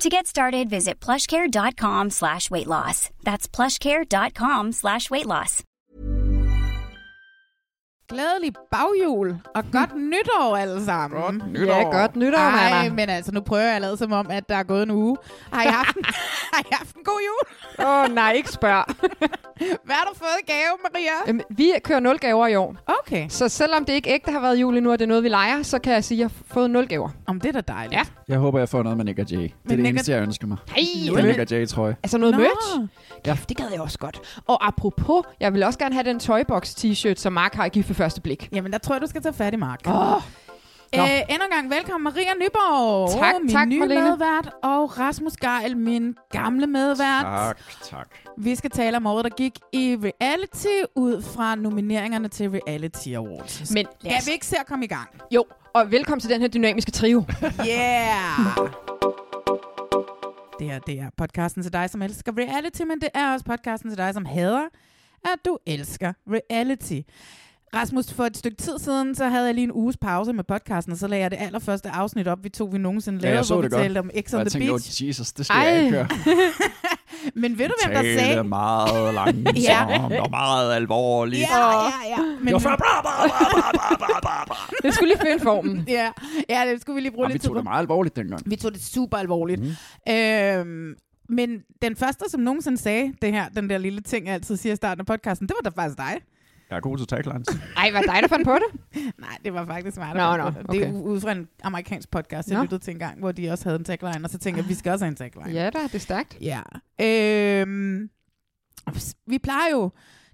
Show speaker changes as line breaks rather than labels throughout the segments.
To get started, visit plushcare.com slash weight loss. That's plushcare.com slash weight loss.
Glædelig bagjul, og godt nytår alle sammen. Godt
Ja, godt nytår,
Ej,
Anna.
men altså, nu prøver jeg at lade som om, at der er gået en uge. Har I haft en, har I haft en god jul?
Åh, oh, nej, ikke spørg.
Hvad har du fået i gave, Maria?
Øhm, vi kører nul gaver i år.
Okay.
Så selvom det ikke ægte har været jul endnu, og det er noget, vi leger, så kan jeg sige, at jeg har fået nul gaver.
Om det er da dejligt.
Ja.
Jeg håber, jeg får noget med Nick og Jay. Det er
Nick
det
og-
eneste, jeg ønsker mig.
Hey,
Den Nick og Jay, tror jeg.
Altså noget
Nå.
Nå. merch? Kæft, det gad jeg også godt. Og apropos, jeg vil også gerne have den Toybox t-shirt, som Mark har i gift for første blik.
Jamen, der tror jeg, du skal tage fat i Mark.
Åh,
Æ,
Nå.
endnu en gang velkommen Maria Nyborg.
Tak,
min
tak,
nye
Marlene.
medvært, og Rasmus Geil, min gamle medvært.
tak.
Vi skal tale om året, der gik i reality, ud fra nomineringerne til Reality Awards.
Men
Ja, vi ikke se at komme i gang.
jo, og velkommen til den her dynamiske trio.
Yeah! Det her, det er podcasten til dig, som elsker reality, men det er også podcasten til dig, som hader, at du elsker reality. Rasmus, for et stykke tid siden, så havde jeg lige en uges pause med podcasten, og så lagde jeg det allerførste afsnit op, vi to vi nogensinde lavede,
jeg så
hvor vi
det godt.
talte om X
Så
on
jeg
the
tænkte, oh,
Beach.
Jesus, det skal
Ej.
jeg ikke køre.
Men ved du, hvem der
Tale
sagde...
meget langsomt
Ja.
og meget alvorligt.
Ja, ja, ja. Men,
Det var før. Bra, bra, bra, bra, bra, bra, bra, bra.
Det skulle lige finde formen.
ja, ja, det skulle vi lige bruge
Jamen, vi
lidt tid
tog
på.
det meget alvorligt dengang.
Vi tog det super alvorligt. Mm. Øhm, men den første, som nogensinde sagde det her, den der lille ting, jeg altid siger i starten af podcasten, det var da faktisk dig.
Jeg er god til taglines.
Ej, var det dig, der fandt på det?
Nej, det var faktisk mig. der
Nå,
fandt
nå,
på det. Det er
okay.
u- ud fra en amerikansk podcast, jeg
Nå.
lyttede til en gang, hvor de også havde en tagline, og så tænkte jeg, vi skal også have en tagline.
Ja da, det er stærkt.
Ja. Øhm, vi plejer jo,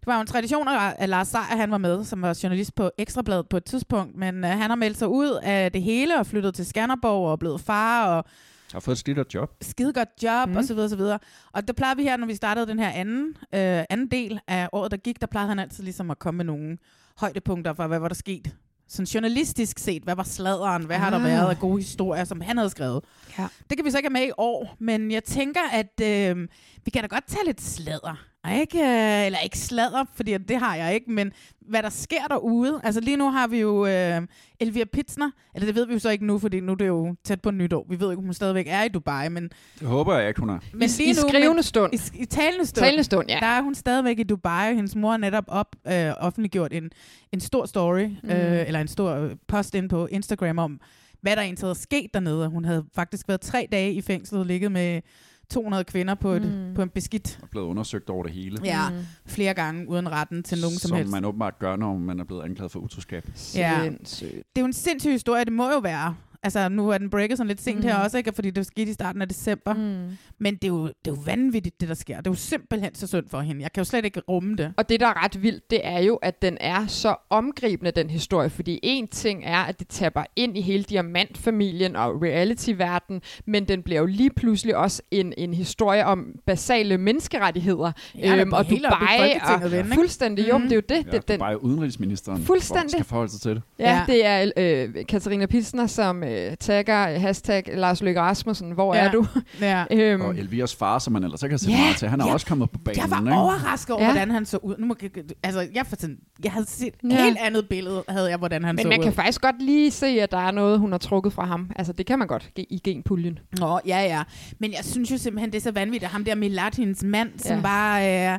det var jo en tradition, at at Lars Seier han var med, som var journalist på Ekstrabladet på et tidspunkt, men øh, han har meldt sig ud af det hele og flyttet til Skanderborg og er blevet far og
Jeg har fået et slidt job.
skidegodt job mm.
Mhm.
og så videre, så videre. Og der plejede vi her, når vi startede den her anden, øh, anden del af året, der gik, der plejede han altid ligesom at komme med nogle højdepunkter for, hvad var der sket. Sådan journalistisk set, hvad var sladderen, hvad har der
Ah.
været af gode historier, som han havde skrevet.
Ja.
Det kan vi så ikke have med i år, men jeg tænker, at øh, vi kan da godt tage lidt sladder. Og Ikke, øh, eller ikke sladder, fordi det har jeg ikke, men hvad der sker derude. Altså lige nu har vi jo øh, Elvira Pitsner, eller det ved vi jo så ikke nu, fordi nu er det jo tæt på nytår. Vi ved jo ikke, om hun stadigvæk er i Dubai, men
Det håber jeg ikke, hun er.
men
I skrivende stund.
men, i, i talende stund,
Talende stund, ja.
der er hun stadigvæk i Dubai, og hendes mor har netop op, øh, offentliggjort en, en stor story, mm.
Mm.
øh, eller en stor øh, post ind på Instagram om, hvad der egentlig havde sket dernede. Hun havde faktisk været tre dage i fængslet og ligget med 200 kvinder på, et, mm.
Mm.
på en beskidt
Jeg er blevet undersøgt over det hele.
ja,
Mm.
flere gange uden retten til nogen som,
som
helst.
man åbenbart gør, når man er blevet anklaget for utroskab.
Ja.
Sindssygt.
Det er jo en sindssyg historie, det må jo være. Altså, nu er den breaket sådan lidt sent mm.
Mm.
her også, ikke? fordi det skete i starten af december. Mm.
Mm.
Men det er, jo, det er jo vanvittigt, det der sker. Det er jo simpelthen så synd for hende. Jeg kan jo slet ikke rumme det.
Og det, der er ret vildt, det er jo, at den er så omgribende, den historie. Fordi en ting er, at det tapper ind i hele diamantfamilien og reality-verdenen, men den bliver jo lige pludselig også en, en historie om basale menneskerettigheder. Øhm,
Ja, der bliver
og
helt oppe i
Dubai og
Folketinget ven, ikke?
fuldstændig, jo,
Mhm.
men det er jo det.
Ja,
det den,
bare udenrigsministeren
Fuldstændig.
skal forholde sig til det.
Ja,
Ja.
ja, det er øh, Katarina Pilsner, som øh, tagger øh, hashtag Lars Løkke Rasmussen. Hvor
Ja.
er du?
Ja.
øhm,
Og Elviras far, som man ellers ikke har set
Ja,
meget til, han er
ja.
også kommet på banen.
Jeg var
ikke?
overrasket over, ja.
Ja.
hvordan han så ud. Nu må, jeg- altså, jeg, for sådan, jeg havde set et ja.
Ja.
helt andet billede, havde jeg, hvordan han
men
så
man
ud.
kan faktisk godt lige se, at der er noget, hun har trukket fra ham. Altså, det kan man godt ge- i genpuljen.
Nå, ja, ja. Men jeg synes jo simpelthen, det er så vanvittigt. at Ham der Milad, hendes mand, som
Ja.
bare øh,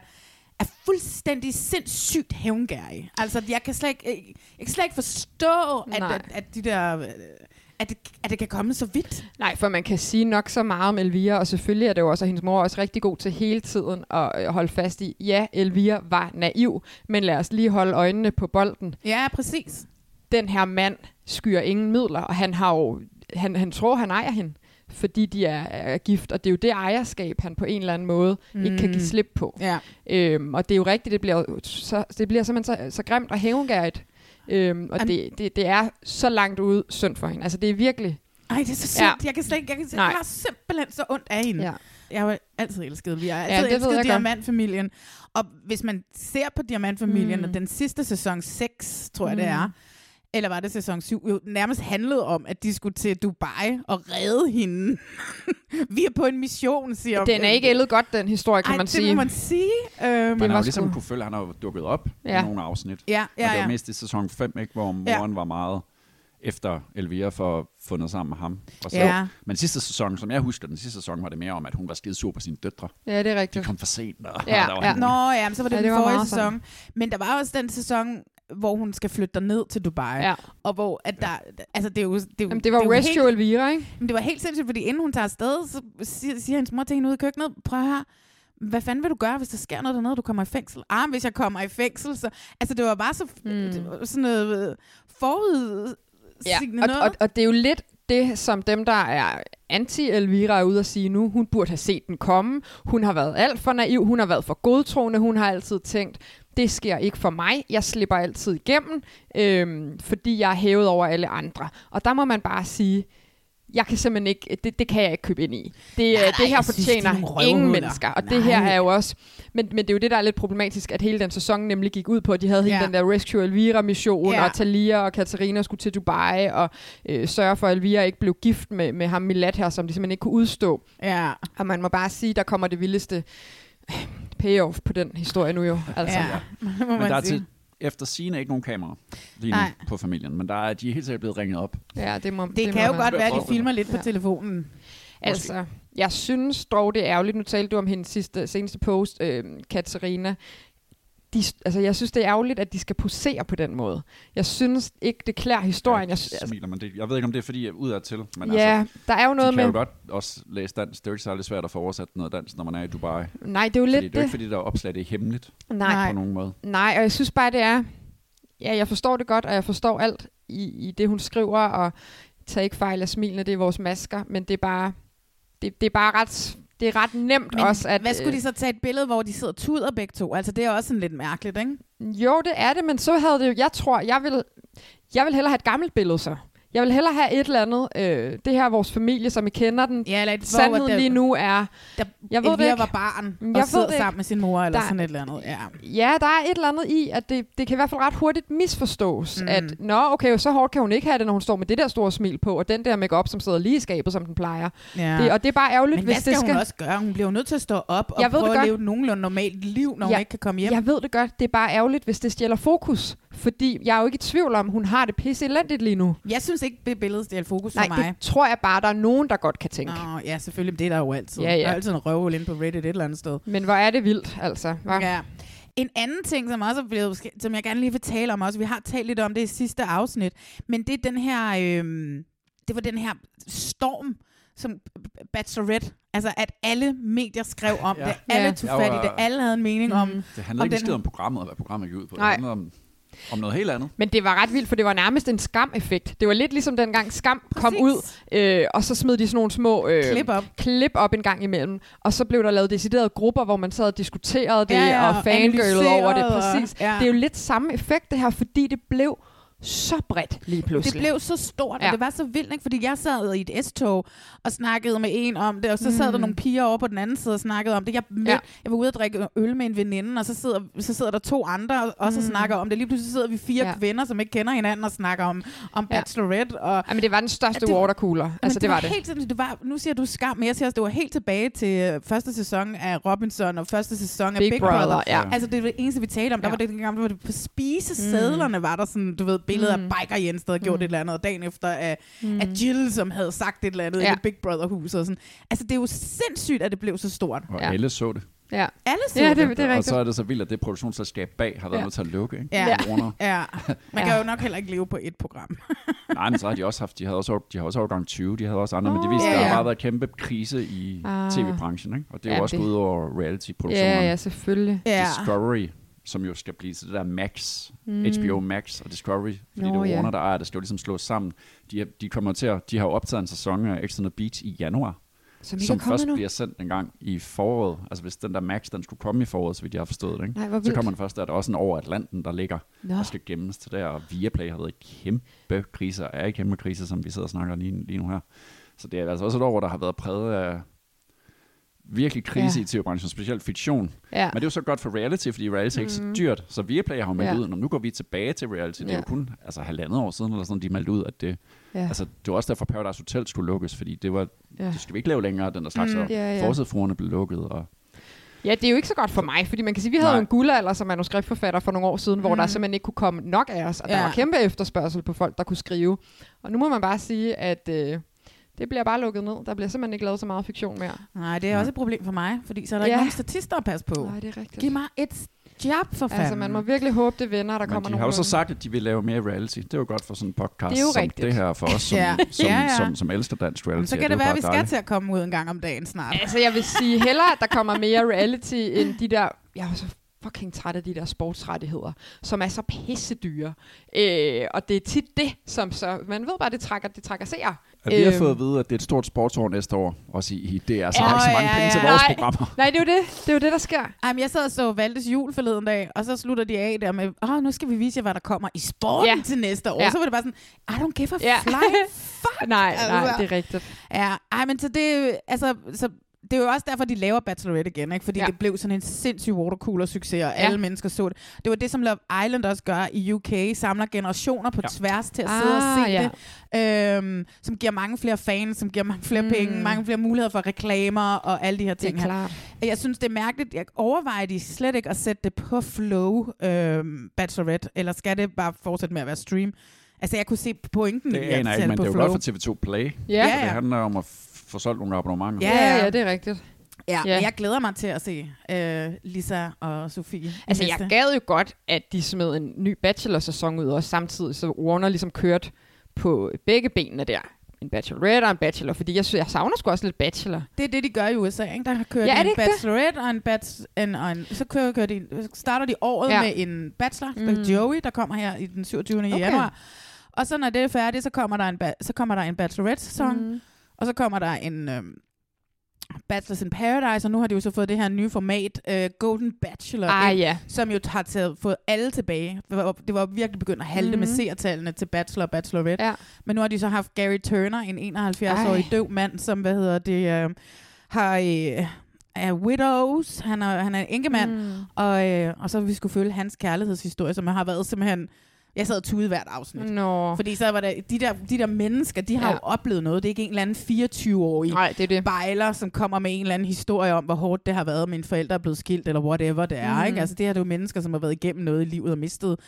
er fuldstændig sindssygt hævngærig. Altså, jeg kan slet ikke, øh, jeg kan slet ikke forstå, at,
Nej.
at, at de der... øh, at det, at det kan komme så vidt.
Nej, for man kan sige nok så meget om Elvira, og selvfølgelig er det jo også, at hendes mor er også rigtig god til hele tiden at øh, holde fast i, ja, Elvira var naiv, men lad os lige holde øjnene på bolden.
Ja, præcis.
Den her mand skyer ingen midler, og han, har jo, han, han tror, han ejer hende, fordi de er, er gift, og det er jo det ejerskab, han på en eller anden måde mm. ikke kan give slip på.
Ja.
Øhm, og det er jo rigtigt, det bliver, jo så, det bliver simpelthen så, så grimt og hævngært. Øhm, og
Am-
det, det, det er så langt ude synd for hende. Altså det er virkelig...
Ej, det er så
Ja.
synd. Jeg kan slet ikke, jeg, kan,
Nej.
jeg har simpelthen så ondt af hende.
Ja.
Jeg har jo altid elsket Vi har
det
altid
ved
ja, elsket
jeg godt.
Diamantfamilien. Og hvis man ser på Diamantfamilien,
Mm.
mm. og den sidste sæson 6, tror jeg mm. det
Mm.
er, eller var det sæson 7, jo nærmest handlede om, at de skulle til Dubai og redde hende. Vi er på en mission, siger
Den er ikke ældet godt, den historie, kan
Ej,
man
det
sige.
må man sige. Øhm,
Man
var
har jo
sgu-
ligesom kunne følge, at han har dukket op ja.
Ja.
i nogle afsnit.
ja,
Ja, og
ja,
det var
ja.
mest i sæson 5, ikke, hvor moren ja. var meget efter Elvira for at fundet sammen med ham. Og så.
Ja.
Men sidste sæson, som jeg husker den sidste sæson, var det mere om, at hun var skide sur på sine døtre.
Ja, det er
De
rigtigt.
kom for sent. Og,
Ja,
og der var
ja.
hende.
Nå, ja, men så var det,
Ja,
ja, det den
det var
forrige
meget
sæson.
sådan.
Men der var også den sæson, hvor hun skal flytte ned til Dubai.
Ja.
Og hvor, at der, altså det er jo... Det, er jo-
Jamen, det var
er jo helt-
Rescue Elvira, ikke?
Men det var helt sindssygt, fordi inden hun tager afsted, så siger, siger hendes mor til hende ude i køkkenet, prøv her, hvad fanden vil du gøre, hvis der sker noget dernede, og du kommer i fængsel? Ah, men hvis jeg kommer i fængsel, så... Altså, det var bare så,
Hmm.
mm. det var sådan noget øh, forud... Ja,
og, og, og det er jo lidt det, som dem, der er anti-Elvira er ude at sige nu, hun burde have set den komme. Hun har været alt for naiv, hun har været for godtroende, hun har altid tænkt, det sker ikke for mig, jeg slipper altid igennem, øhm, fordi jeg er hævet over alle andre. Og der må man bare sige, jeg kan simpelthen ikke, det, det kan jeg ikke købe ind i. Det, Nej,
Nej,
det her
jeg synes, de er
fortjener
nogle røvhuller.
ingen mennesker, og det her
Nej.
er jo også, men, men det er jo det, der er lidt problematisk, at hele den sæson nemlig gik ud på, at de havde hele
Ja.
den der Rescue Elvira-mission,
Ja.
og Talia og Katarina skulle til Dubai, og øh, sørge for, at Elvira ikke blev gift med, med ham Milat her, som de simpelthen ikke kunne udstå.
ja.
Og man må bare sige, der kommer det vildeste øh, payoff på den historie nu jo. Altså.
ja. Må
Men
man
der er
sige.
til, efter sine ikke nogen kameraer lige nu
Nej.
på familien, men der er, de er helt sikkert blevet ringet op.
ja, det må
Det, det kan
må
jo
man-
godt være, at de
Forestille
filmer lidt ja.
Ja.
på telefonen.
Altså, jeg synes dog, det er ærgerligt. Nu talte du om hendes sidste, seneste post, øh, Katarina. De, altså, jeg synes, det er ærgerligt, at de skal posere på den måde. Jeg synes ikke, det klæder historien. Jeg,
jeg,
sy- altså,
smiler, men det, jeg ved ikke, om det er fordi, ud af til, men altså,
ja, der er jo
de
noget
kan jo
med...
godt også læse dansk. Det er jo ikke særlig svært at få oversat noget dansk, når man er i Dubai.
Nej, det er jo
Fordi
lidt
det er jo ikke,
det.
fordi der er opslag, det er hemmeligt
Nej,
på nogen måde.
Nej, og jeg synes bare, det er... Ja, jeg forstår det godt, og jeg forstår alt i, i det, hun skriver, og tag ikke fejl af smilene, det er vores masker, men det er bare, det, det er bare ret, det er ret nemt
Men
også. At, øh,
Hvad skulle de så tage et billede, hvor de sidder og tuder begge to? Altså, det er også sådan lidt mærkeligt, ikke?
øh, Jo, det er det, men så havde det jo, jeg tror, jeg vil, jeg vil hellere have et gammelt billede så. Jeg vil hellere have et eller andet, øh, det her er vores familie, som I kender den.
Ja, eller et, hvor
Sandheden
der,
lige nu er,
Der,
jeg ved det
Elvira
ikke.
var barn
Jeg
jeg
ved
og sidder
det ikke.
sammen med sin mor, eller
Der-
sådan et eller andet. Ja.
Ja, der er et eller andet i, at det, det kan i hvert fald ret hurtigt misforstås, mm.
Mm.
at nå, okay, så hårdt kan hun ikke have det, når hun står med det der store smil på, og den der makeup som sidder lige i skabet, som den plejer.
Ja.
Ja. Det, og det er bare ærgerligt,
Men
hvis
hvad skal,
det
skal
skal...
hun også gøre? Hun bliver jo nødt til at stå op og
Jeg ved det
prøve at
godt.
leve et nogenlunde normalt liv, når
Ja.
hun ikke kan komme hjem.
Yep. Jeg ved det godt, det er bare ærgerligt, hvis det stjæler fokus. Fordi jeg er jo ikke i tvivl om, hun har det pisse elendigt lige nu.
Jeg synes ikke, det billede stjal fokus
Nej,
for mig.
det tror jeg bare, der er nogen, der godt kan tænke. Nå.
Nå, ja, selvfølgelig, men det er der jo altid.
Ja, ja.
Der er altid en røvhul inde på Reddit et eller andet sted.
Men hvor er det vildt, altså. Hva? Ja.
Ja. En anden ting, som også er blevet, sk- som jeg gerne lige vil tale om også, vi har talt lidt om det i sidste afsnit, men det er den her, øh, det var den her storm, som Bachelorette, altså at alle medier skrev om
Ja.
det, alle
Ja. Mm.
tog
Jeg
fat i
var-
det, alle havde en mening om,
Det handlede
Om
ikke
den
skid
her-
om programmet og hvad programmet gik ud på.
Nej.
Det handlede om, om noget helt andet.
Men det var ret vildt, for det var nærmest en skam-effekt. Det var lidt ligesom dengang Skam Præcis. kom
Præcis.
ud, øh, og så smed de sådan nogle små... Øh,
klip op.
klip op en gang imellem, og så blev der lavet deciderede grupper, hvor man sad og diskuterede det,
Ja, ja,
og
og
fangirlede over det,
analyserede, og-
præcis.
ja.
Det er jo lidt samme effekt det her, fordi det blev så bredt lige
Det
pludselig.
blev så stort, ja.
Ja.
og det var så vildt, ikke? fordi jeg sad i et S-tog og snakkede med en om det, og så sad mm. der nogle piger over på den anden side og snakkede om det. Jeg, mød,
Ja.
ja. jeg var ude at drikke øl med en veninde, og så sidder, så sidder der to andre og også mm. snakker om det. Lige pludselig sidder vi fire
Ja.
ja. kvinder, som ikke kender hinanden, og snakker om, om
Ja.
Bachelorette. Og,
Jamen, det var den største
Det var-
watercooler. Altså,
Men
det, var det.
Helt, sindssygt. det var, nu siger du skam, men jeg siger også, det var helt tilbage til øh, første sæson af Robinson og første sæson af
Big,
Big,
Brother. Ja.
Altså, det var det eneste, vi talte om. Der
Ja.
var det dengang, hvor det på spisesedlerne var der sådan, du ved, billeder af Biker Jens, der havde gjort et eller andet, og dagen efter af, mm. af Jill, som havde sagt et eller andet
Ja.
i det Big Brother-hus og sådan. Altså, det er jo sindssygt, at det blev så stort.
Og
Ja.
alle så det.
Ja.
Alle
Ja,
sider.
det, det er
Og
rigtigt.
så er det så vildt, at det produktionsselskab bag har været
Ja.
ja. nødt til at lukke, ikke?
Ja.
Corona.
Ja, man
Ja.
kan jo nok heller ikke leve på et program.
Nej, men så har de også haft, de havde også, de havde også overgang 20, de havde også andre, men det
Åh,
viste,
ja,
der
ja.
har bare været kæmpe krise i
Ah.
tv-branchen, ikke? Og det er
Ja,
jo også
det-
gået ud over reality-produktionerne.
Ja, ja, selvfølgelig.
Ja.
Discovery, som jo skal blive til det der Max, mm. HBO Max og Discovery, fordi
Nå,
det er
ja.
Warner, der ejer, det skal jo ligesom slås sammen. De, er- de, kommer til at, de har jo optaget en sæson af X on the Beach i januar,
Som ikke
som
er kommet
først
nu.
bliver sendt en gang i foråret. Altså hvis den der Max, den skulle komme i foråret, så vidt jeg har forstået det, ikke?
Nej, hvor
så
vildt.
kommer den først, der er der også en over Atlanten, der ligger
Nå.
og skal gemmes til der, og Viaplay har været i kæmpe kriser, er i kæmpe kriser, som vi sidder og snakker lige, lige nu her. Så det er altså også et år, hvor der har været præget af virkelig krise
Ja.
ja. i tv-branchen, specielt fiktion.
Ja. Mhm.
Men det er jo så godt for reality, fordi reality er ikke så dyrt. Så Viaplay har jo meldt
Ja.
ja. ud, "Nå, nu går vi tilbage til reality. Det er
Ja.
jo kun altså, halvandet år siden, eller sådan, de meldte ud, at det...
ja.
Ja. Altså, det var også derfor, Paradise Hotel skulle lukkes, fordi det var...
Ja.
Ja. Det skal vi ikke lave længere, den der slags. Mm. Og
Ja, ja.
Forsædfruerne blev lukket, og...
Ja, det er jo ikke så godt for mig, fordi man kan sige, vi havde
Nej.
jo en guldalder som manuskriptforfatter for nogle år siden, hvor der simpelthen ikke kunne komme nok af os, og der
Mm. Ja.
var kæmpe efterspørgsel på folk, der kunne skrive. Og nu må man bare sige, at øh, det bliver bare lukket ned. Der bliver simpelthen ikke lavet så meget fiktion mere.
Nej, det er også et problem for mig, fordi så er der ja.
Ja.
ikke nogen statister at passe på.
det er rigtigt.
Giv mig et job for fanden.
Altså, man må virkelig håbe, det vender, der
Men
kommer
de har jo
nogle.
så sagt, at de vil lave mere reality. Det er jo godt for sådan en podcast
Det er jo
som
rigtigt.
det her for os, som,
Ja.
ja. Som,
Ja, ja.
som, som, som elsker dansk reality.
Jamen, så
og
kan det
er jo
være, at
bare
vi skal
dejligt.
til at komme ud en gang om dagen snart.
Altså, jeg vil sige hellere, at der kommer mere reality, end de der... Jeg er jo så fucking træt af de der sportsrettigheder, som er så pisse dyre. Øh, og det er tit det, som så... Man ved bare, det trækker, det trækker seere.
At vi har
Øhm.
fået at vide, at det er et stort sportsår næste år. Også i, i det er altså
Ja.
ja, ikke så mange
Åh, ja,
ja, penge til
ja.
vores
Nej.
programmer.
Nej, det er jo det. Det er jo det, der sker.
Jamen, jeg sad og så Valdes jul forleden dag, og så slutter de af der med, åh, oh, nu skal vi vise jer, hvad der kommer i sporten
Ja.
ja. til næste år.
Ja.
Ja. Så var det bare sådan, I don't give a
Ja.
ja. flying fuck.
Nej, nej,
Altså.
det er rigtigt.
Ja, ej, men så det, altså, så det er jo også derfor, de laver Bachelorette igen, ikke? fordi
Ja.
ja. det blev sådan en sindssyg watercooler-succes, og
Ja.
ja. alle mennesker så det. Det var det, som Love Island også gør i UK, samler generationer på ja.
Ja.
tværs til at sidde ah, og
Ah,
se ja. det, øhm, som giver mange flere fans, som giver mange flere mm. penge, mange flere muligheder for reklamer og alle de her ting. her.
klart.
Jeg synes, det er mærkeligt. Jeg overvejer de slet ikke at sætte det på Flow øhm, Bachelorette, eller skal det bare fortsætte med at være stream? Altså, jeg kunne se pointen i
Det
at sætte
aner jeg ikke, men
på
det er jo
Flow.
godt for TV2 Play.
Ja.
Ja,
Det handler om at f- få solgt nogle abonnementer.
Ja,
Ja, ja,
ja.
ja, det er rigtigt.
Ja,
Ja.
ja. jeg glæder mig til at se øh, Lisa og Sofie. i
Altså,
næste.
jeg gad jo godt, at de smed en ny bachelor-sæson ud også samtidig, så Warner ligesom kørte på begge benene der. En bachelorette og en bachelor, fordi jeg, sy- jeg savner sgu også lidt bachelor.
Det er det, de gør i USA, ikke? Der kører
Ja, er
ja,
det
de en
ikke det?
bachelorette og en, bats, en, og en så kører, kører de, så starter de året
Ja.
ja. med en bachelor,
Mm.
mm. Joey, der kommer her i den 27. Okay.
Okay.
januar. Og så når det er færdigt, så kommer der en, ba- så kommer der en bachelorette-sæson, mm. og så kommer der en øhm, Bachelors in Paradise, og nu har de jo så fået det her nye format, øh, Golden Bachelor,
Ah
ind,
ja,
som jo har taget, fået alle tilbage. Det var, det var virkelig begyndt at halte mm. med
Mhm.
seertallene til Bachelor og Bachelorette.
ja.
Men nu har de så haft Gary Turner, en 71-årig
Ej.
døv mand, som, hvad hedder det, øh, har, øh, er widows, han er, han er en enkemand, mm.
Mm.
og, øh, og så har vi skulle følge hans kærlighedshistorie, som har været simpelthen, jeg sad og tudede hvert afsnit. Mm.
Nå.
Fordi så var der, de der, de der mennesker, de har
Ja.
ja. jo oplevet noget. Det er ikke en eller anden 24-årig
Nej, det er det.
bejler, som kommer med en eller anden historie om, hvor hårdt det har været, at mine forældre er blevet skilt, eller whatever det er.
Mm.
Mm. Ikke? Altså, det her det er jo mennesker, som har været igennem noget i livet og mistet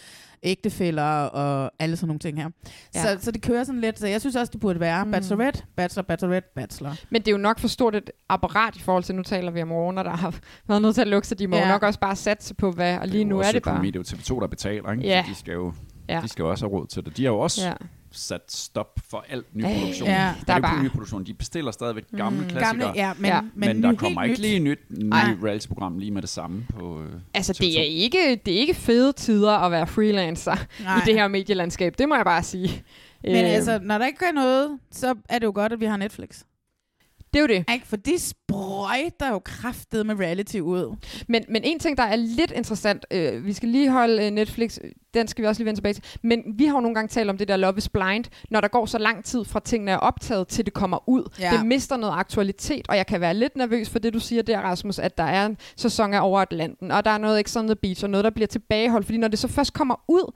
ægtefæller og alle sådan nogle ting her.
Ja.
Ja. Så, så det kører sådan lidt. Så jeg synes også, det burde være
Mm.
mm. bachelorette, bachelor, bachelorette, bachelor.
Men det er jo nok for stort et apparat i forhold til, nu taler vi om Warner, der har været nødt til at lukke, så de må ja.
Ja.
nok også bare satse på, hvad, og lige nu
også
er det bare.
økonomi. Det er jo TV2, der betaler, ikke?
Ja.
Så de skal jo,
Ja.
de skal jo også have råd til det. De har jo også
Ja.
sat stop for alt ny
Ej,
produktion.
ja.
Der
Der
er,
er
det
bare-
er bare... ny produktion. De bestiller stadigvæk gamle mm. klassikere.
Gamle, ja, men,
Ja.
ja.
Men,
men,
men
nu
der
helt
kommer ikke
nyt.
lige nyt, nyt
Nej.
reality-program lige med det samme på øh,
Altså,
TV2.
det er, ikke, det er ikke fede tider at være freelancer Nej. i
Nej.
det her medielandskab. Det må jeg bare sige. Øh,
Men altså, når der ikke gør noget, så er det jo godt, at vi har Netflix.
det er jo det.
Ikke? For de sprøjter jo kraftet med reality ud.
Men, men en ting, der er lidt interessant, øh, vi skal lige holde øh, Netflix, øh, den skal vi også lige vende tilbage til, men vi har jo nogle gange talt om det der Love is Blind, når der går så lang tid fra tingene er optaget, til det kommer ud. Ja.
Ja.
Det mister noget aktualitet, og jeg kan være lidt nervøs for det, du siger der, Rasmus, at der er en sæson af Over Atlanten, og der er noget X on the Beach, og noget, der bliver tilbageholdt, fordi når det så først kommer ud,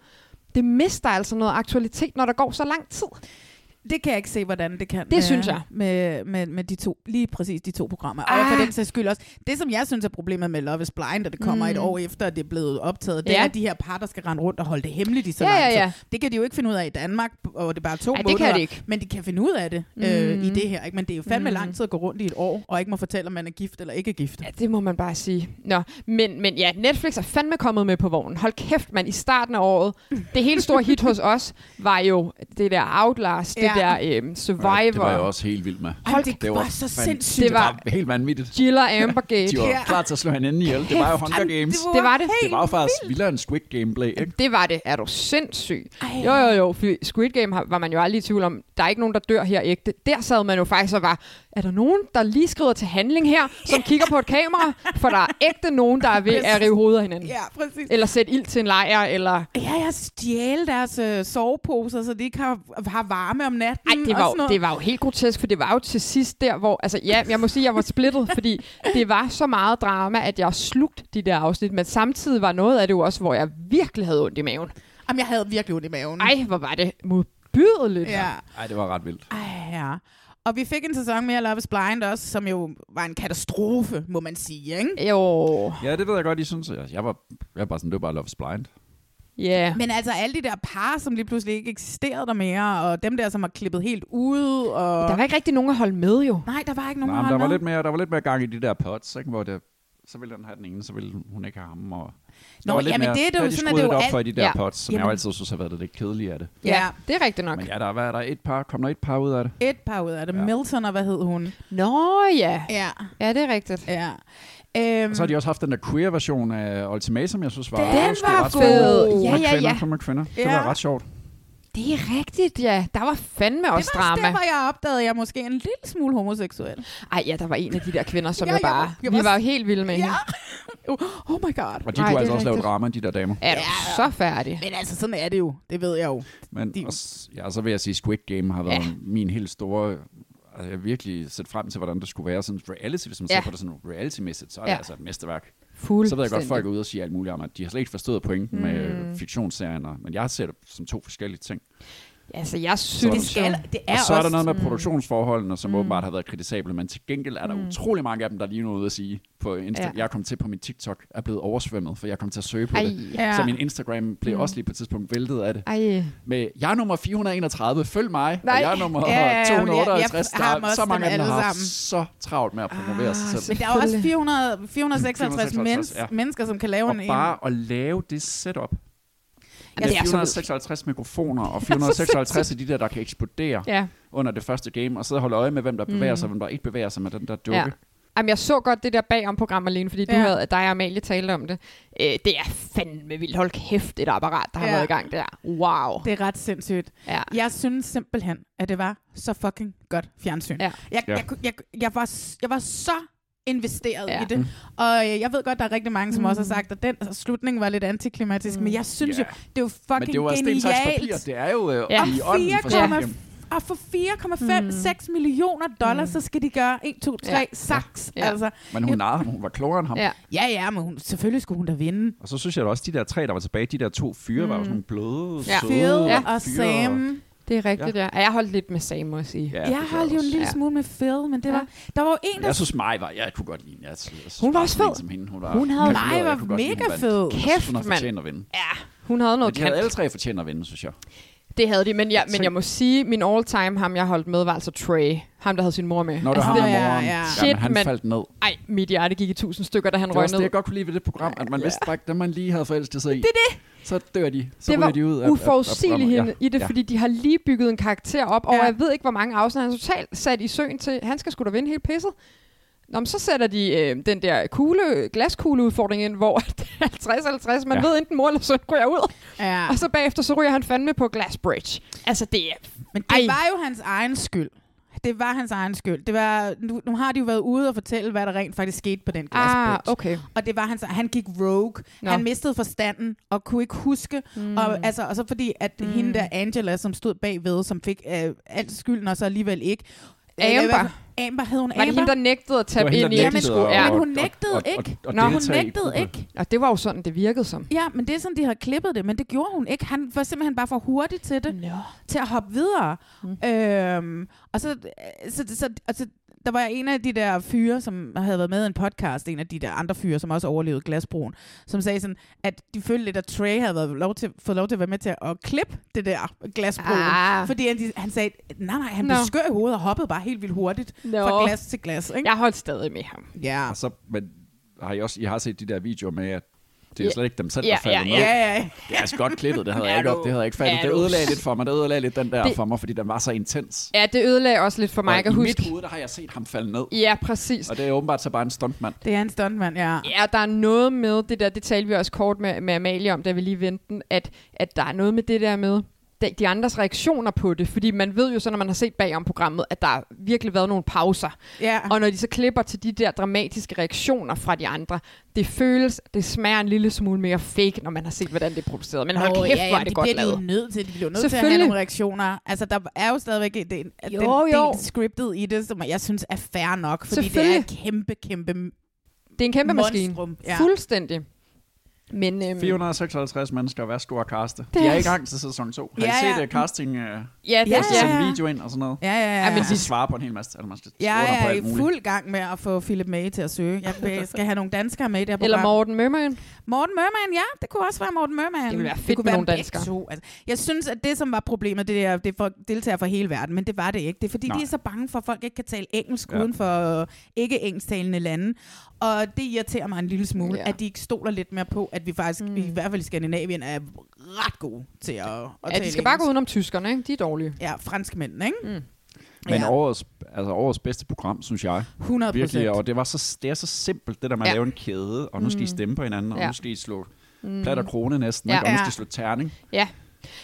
det mister altså noget aktualitet, når der går så lang tid.
Det kan jeg ikke se, hvordan det kan. Det
synes jeg.
Med, med, med de to, lige præcis de to programmer. Ah. Og for
Ah.
den sags skyld også. Det, som jeg synes er problemet med Love is Blind, og det kommer mm. et år efter, at det er blevet optaget, det
Ja.
er, at de her par, der skal rende rundt og holde det hemmeligt i så
Ja,
lang
ja,
tid.
ja.
Det kan de jo ikke finde ud af i Danmark, og det er bare to
Ej, det kan
måneder.
de ikke.
Men de kan finde ud af det øh, i det her. Ikke? Men det er jo fandme mm. lang tid at gå rundt i et år, og ikke må fortælle, om man er gift eller ikke er gift.
Ja, det må man bare sige. Nå, men, men ja, Netflix er fandme kommet med på vognen. Hold kæft, man. I starten af året, det helt store hit hos os var jo det der Outlast, ja. det
Ja.
der øhm, Survivor.
Ja, det var jeg også helt vild med.
Hold, det,
det
det
var
var, så
fandme-
sindssygt.
Det
Det
var-
var helt vanvittigt.
Jill og Ambergate.
De var
Ja.
klar til at slå hinanden ihjel. Det var jo Hunger Games.
Det var det.
helt
Det var jo faktisk vildere end Squid Gameplay, ikke?
Det var det. Er du sindssyg?
Ej.
Jo, jo, jo. For Squid Game har- var man jo aldrig i tvivl om. Der er ikke nogen, der dør her ægte. Der sad man jo faktisk og var, er der nogen, der lige skrider til handling her, som kigger på et kamera? For der er ægte nogen, der er ved at rive hovedet af hinanden.
Ja, præcis.
Eller sætte ild til en lejr, eller...
Ja, jeg stjæle deres øh, soveposer, så de ikke har, har varme om natten.
Ej, det
og
var,
Mm, sådan
jo,
noget.
det var jo helt grotesk, for det var jo til sidst der, hvor... Altså, ja, jeg må sige, jeg var splittet, fordi det var så meget drama, at jeg slugte de der afsnit, men samtidig var noget af det jo også, hvor jeg virkelig havde ondt i maven.
Jamen, jeg havde virkelig ondt i maven.
Ej, hvor var det modbydeligt.
Ja.
Nej, det var ret vildt.
Ej, ja. Og vi fik en sæson mere Love is Blind også, som jo var en katastrofe, må man sige, ikke?
Jo,
Ja, det ved jeg godt, I synes. Jeg jeg var, jeg var bare sådan, det var bare Love's Blind.
ja.
Men altså alle de der par, som lige pludselig ikke eksisterede der mere, og dem der, som var klippet helt ude, og...
Der var ikke rigtig nogen at holde med, jo.
Nej, der var ikke nogen,
Nej, men der
holdt
var,
med.
lidt mere, der var lidt mere gang i de der pots, ikke? Hvor det, så ville han have den ene, så ville hun ikke have ham. Og der
Nå,
var lidt
jamen,
mere,
det er det
der
jo-
de
sådan er det
skruede lidt
jo
op
alt-
for i de der
Ja.
pots, som jeg
Jamen.
jo altid synes har været det lidt kedelige af det.
Ja.
det er rigtigt nok.
Men ja, der var der er et par. Kom der et par ud af det?
Et par ud af det. Ja. Milton, og hvad hed hun?
Nå ja.
Ja.
Ja, det er rigtigt.
Ja. Øhm,
Og så har de også haft den der queer-version af Ultimatum, jeg synes var,
Den
åh, sgu
var
ret
fed.
god.
Ja,
Med
ja,
kvinder,
ja.
Kom med kvinder. Det
Ja.
var ret sjovt.
Det er rigtigt, ja. Der var fandme
det
også
var også
drama.
der, hvor jeg opdagede, at jeg måske er en lille smule homoseksuel.
Ej, ja, der var en af de der kvinder, som
Ja,
jeg
jeg
bare...
var- jeg
vi
var-
var jo helt vilde med
Ja.
hende.
Oh my god.
Og de
Nej,
kunne
det
altså
er
også lave
rigtigt.
drama, de der damer.
Er du så færdig?
Men altså, sådan er det jo. Det ved jeg jo.
Men
De-
også, ja, så vil jeg sige, Squid Game har været
Ja.
ja. min helt store... Altså, jeg har virkelig set frem til, hvordan det skulle være sådan reality. Hvis man
Ja.
ja. ser på det sådan reality-mæssigt, så er ja.
Ja.
det altså et mesterværk.
Fuldstændig.
Så ved jeg godt, at folk er ude og sige alt muligt om, at de har slet ikke forstået pointen mm. med fiktionsserien. og- Men jeg ser det som to forskellige ting.
Altså, jeg synes...
Det
skal-
jo-
det
og så er der noget med produktionsforholdene, som mm. åbenbart har været kritisable, men til gengæld er der mm. utrolig mange af dem, der lige nu er ude at sige på Insta-
Ja.
ja. Jeg kom til på min TikTok, er blevet oversvømmet, for jeg kom til at søge på
Ej.
det.
Ja.
Så min Instagram blev også lige på et tidspunkt væltet af det.
Ej.
med, jeg er nummer 431, følg mig,
Nej.
og jeg er nummer
Ja, ja, ja,
258.
jeg
der
har
er
dem også,
så mange af
dem
dem, der
alle
har haft
sammen.
så travlt med at promovere ah, sig
så-
selv.
Men der er jo også 400, 456 mens,
456,
ja.
ja.
mennesker, som kan lave
Og
en...
bare at lave det setup.
Ja,
Ja,
det er så
456 mikrofoner, og 456 er de der, der kan eksplodere
Ja.
under det første game, og sidde og holde øje med, hvem der
Mm.
bevæger sig, og hvem der ikke bevæger sig med den der dukke.
Ja. Jamen, jeg så godt det der bagom program alene, fordi du
Ja.
havde, dig og Amalie talte om det. Øh, det er fandme vildt. Hold kæft, et apparat, der har
Ja.
været i gang der. Wow.
Det er ret sindssygt.
Ja.
Jeg synes simpelthen, at det var så fucking godt fjernsyn.
Ja.
Jeg,
Ja.
jeg, kunne- jeg, jeg, var, s- jeg var så investeret
Ja.
i det. Og øh, jeg ved godt, der er rigtig mange, som også har sagt, at den slutning var lidt antiklimatisk, men jeg synes
Mm. Ja.
jo, det er jo
Men
fucking
det er jo også sten, saks, papir.
genialt.
Det er jo øh,
Ja.
i
Og
ånden for
Ja.
sådan
4,5 og for 4,56 mm. millioner dollars, mm. så skal de gøre 1, 2, 3,
Ja.
ja. saks.
Ja.
Ja. Altså,
Men hun, er, hun var klogere end ham.
Ja.
ja, ja, men hun, selvfølgelig skulle hun da vinde.
Og så synes jeg da også, de der tre, der var tilbage, de der to fyre, var jo sådan nogle bløde,
Ja.
søde
Phil
fyre.
Mm. ja. og Sam.
Det er rigtigt, ja. ja. Jeg holdt lidt med Sam, må jeg sige.
Ja,
Ja,
det
jeg
gør
holdt jo en
også.
lille
Ja.
smule med Phil, men det
Ja.
var, der var jo en,
Men
der...
Jeg synes, mig var... Jeg kunne godt lide hende. Jeg, synes,
Hun var
bare
også
sådan en
fed.
Som hende. Hun, var
Hun havde-
kalkuleret.
Mig
Jeg
var
kunne godt lide,
mega
hun vandt.
fed.
Jeg
Kæft,
synes, hun har
mand.
fortjent at vinde.
Hun havde
Men
noget
de havde
kant.
alle tre fortjent at vinde, synes jeg.
Det havde de, men, jeg, men
Tænk-
jeg må sige, min all-time, ham jeg holdt med, var altså Trey. Ham, der havde sin mor med.
Når du
Altså,
har
det-
med
ja,
moren,
ja.
Jamen,
Shit,
han
mand.
faldt ned.
Ej, mit hjerte gik i tusind stykker, da han
Det var
røg
også det,
ned.
jeg godt kunne lide ved det program, at man vidste, at dem, man lige havde forelsket sig i,
Det er det.
så dør de. Så
det
ryger
var
de ud af- af, af
uforudsigeligt
programmet.
ja. i det,
ja.
fordi de har lige bygget en karakter op, og
Ja.
jeg ved ikke, hvor mange afsnit han er totalt sat i søen til. Han skal sgu da vinde helt pisset. Nå, men så sætter de øh, den der kugle, glaskugleudfordring ind, hvor det er 50-50. Man
Ja.
ved enten mor eller søn ryger ud,
Ja.
og så bagefter så ryger han fandme på Glassbridge. Altså, det er...
Men det
Ej.
Ej. var jo hans egen skyld. Det var hans egen skyld. Det var, nu, nu har de jo været ude og fortælle, hvad der rent faktisk skete på den
Ah,
glasbridge.
okay.
Og det var hans, han gik rogue.
Nå.
Nå. Han mistede forstanden og kunne ikke huske. Mm. Og, altså, og så fordi, at mm. hende der Angela, som stod bagved, som fik øh, alt skylden og så alligevel ikke, jeg kan i hvert
Amber.
fald- Amber hed hun
Var det
Amber?
hende, der nægtede at tabe
hende,
ind i
der
Jamen,
nægtede
skulle?
at-
Ja.
Men hun
og-
nægtede
og- og-
ikke.
og
Nå, hun
hun
deltage i
nægtede
gruppen.
ikke.
Og det var jo sådan, det virkede som.
Ja, men det er sådan, de har klippet det, men det gjorde hun ikke. Han var simpelthen bare for hurtig til det,
Nå.
til at hoppe videre. Mm. Øhm, og så, så, så, altså, der var en af de der fyre, som havde været med i en podcast, en af de der andre fyre, som også overlevede glasbroen, som sagde sådan, at de følte lidt, at Trey havde været lov til, fået lov til at være med til at klippe det der glasbroen.
Ah.
Fordi han, de- han sagde, nej nej, han
Nå.
blev skør i hovedet og hoppede bare helt vildt hurtigt
Nå.
fra glas til glas. Ikke?
Jeg holdt stadig med ham.
Ja.
Og så, men har I, også, I har set de der videoer med, at det
Ja.
er slet ikke dem selv,
Ja,
der falder
ja,
med.
Ja, ja, ja.
Det er altså godt klippet, det havde
Er
jeg ikke
du-
op, det havde jeg ikke
er
fattet. Det
du-
ødelagde lidt for mig, det ødelagde lidt den der
Det-
for mig, fordi den var så intens.
Ja, det ødelagde også lidt for mig, jeg kan
og i
huske.
mit hoved, der har jeg set ham falde ned.
Ja, præcis.
Og det er åbenbart så bare en stuntmand.
Det er en stuntmand, ja.
Ja, der er noget med det der, det talte vi også kort med, med Amalie om, da vi lige vendte den, at, at der er noget med det der med de- de andres reaktioner på det, fordi man ved jo så, når man har set bagom programmet, at der har virkelig været nogle pauser.
ja.
Og når de så klipper til de der dramatiske reaktioner fra de andre, det føles, det smager en lille smule mere fake, når man har set, hvordan det er produceret. Men hold
Åh,
oh, kæft, hvor er
men
det godt
bliver de jo
lavet.
nødt til. De bliver jo nødt til at have
Selvfølgelig.
nogle reaktioner. Altså, der er jo stadigvæk den, den
Jo, jo.
del scriptet i det, som jeg synes er fair nok, fordi det er
Selvfølgelig.
et kæmpe, kæmpe
Det er en kæmpe maskine.
monstrum. Ja.
Fuldstændig. Men øhm,
456 mennesker, værsgo at kaste.
Det
Det
er
er, jeg er i
altså-
gang til sæson 2. Har
Ja,
I set
ja.
uh, casting, uh, ja,
ja, det,
Ja.
ja.
sende video ind og sådan noget?
Ja, ja, ja.
Ja, men
Men
de-
de svarer på en hel masse. Altså, man skal
jeg
svare på
er
alt
i
muligt.
fuld gang med at få Philip May til at søge. Jeg vil- skal have nogle danskere med i det her
Eller
program.
Morten Mømmerjen.
Morten Merman, ja. Det kunne også være Morten Merman.
Det ville være fedt
kunne
med nogle
begge
danskere.
To. Altså, jeg synes, at det, som var problemet, det er, det er for deltagere fra hele verden, men det var det ikke. Det er fordi, Nej.
Nej.
de er så bange for, at folk ikke kan tale engelsk ja.
Ja.
uden for øh, ikke engelsktalende lande. Og det irriterer mig en lille smule,
Ja.
ja. at de ikke stoler lidt mere på, at vi faktisk, mm. i hvert fald i Skandinavien, er ret gode til at, at
Ja,
tale
de skal bare gå
engelsk.
udenom tyskerne, ikke? De er dårlige.
Ja, franskmændene, ikke? Mm.
Men
ja,
årets, altså årets bedste program, synes jeg.
100 procent.
Virkelig, og det, var så, det er så simpelt, det der med
Ja.
at lave en kæde, og nu skal I stemme på hinanden, og
Ja.
nu skal I slå plat og krone næsten,
Ja.
ja. og nu
Mm. Ja.
skal I slå terning.
Ja.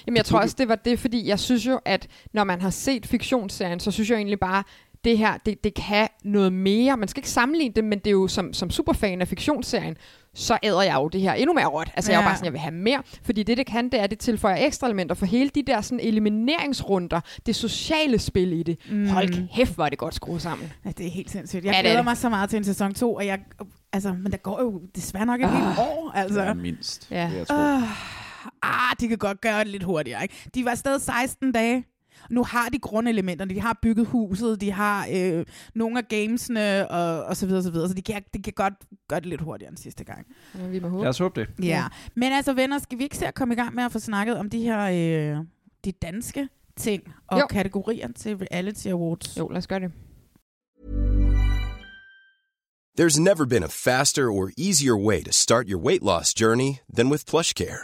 Jamen, jeg tror også, det var det, fordi jeg synes jo, at når man har set fiktionsserien, så synes jeg egentlig bare, det her, det, det kan noget mere. Man skal ikke sammenligne det, men det er jo som, som superfan af fiktionsserien, så æder jeg jo det her endnu mere råt. Altså, ja. jeg er
Ja.
jo bare sådan, jeg vil have mere. Fordi det, det kan, det er, at det tilføjer ekstra elementer for hele de der sådan, elimineringsrunder, det sociale spil i det. Mm. Hold kæft, hvor er det godt skruet sammen.
Ja, det er helt sindssygt. Jeg
Ja, det er
glæder
det.
mig så meget til en sæson 2, og jeg, altså, men der går jo desværre nok et
Ah.
oh. helt år. Altså.
Ja, mindst.
Ja.
Ja. Det, jeg tror.
ah, de kan godt gøre det lidt hurtigere. Ikke? De var afsted 16 dage. Nu har de grundelementerne, de har bygget huset, de har øh, nogle af gamesene og, og så videre, så videre. Så de kan, de kan godt gøre det lidt hurtigere end sidste gang.
Men vi må håbe.
Lad os håbe det.
Ja. ja. Men altså venner, skal vi ikke se at komme i gang med at få snakket om de her øh, de danske ting og
Jo.
jo. kategorier til Reality Awards?
Jo, lad os gøre det.
There's never been a faster or easier way to start your weight loss journey than with PlushCare.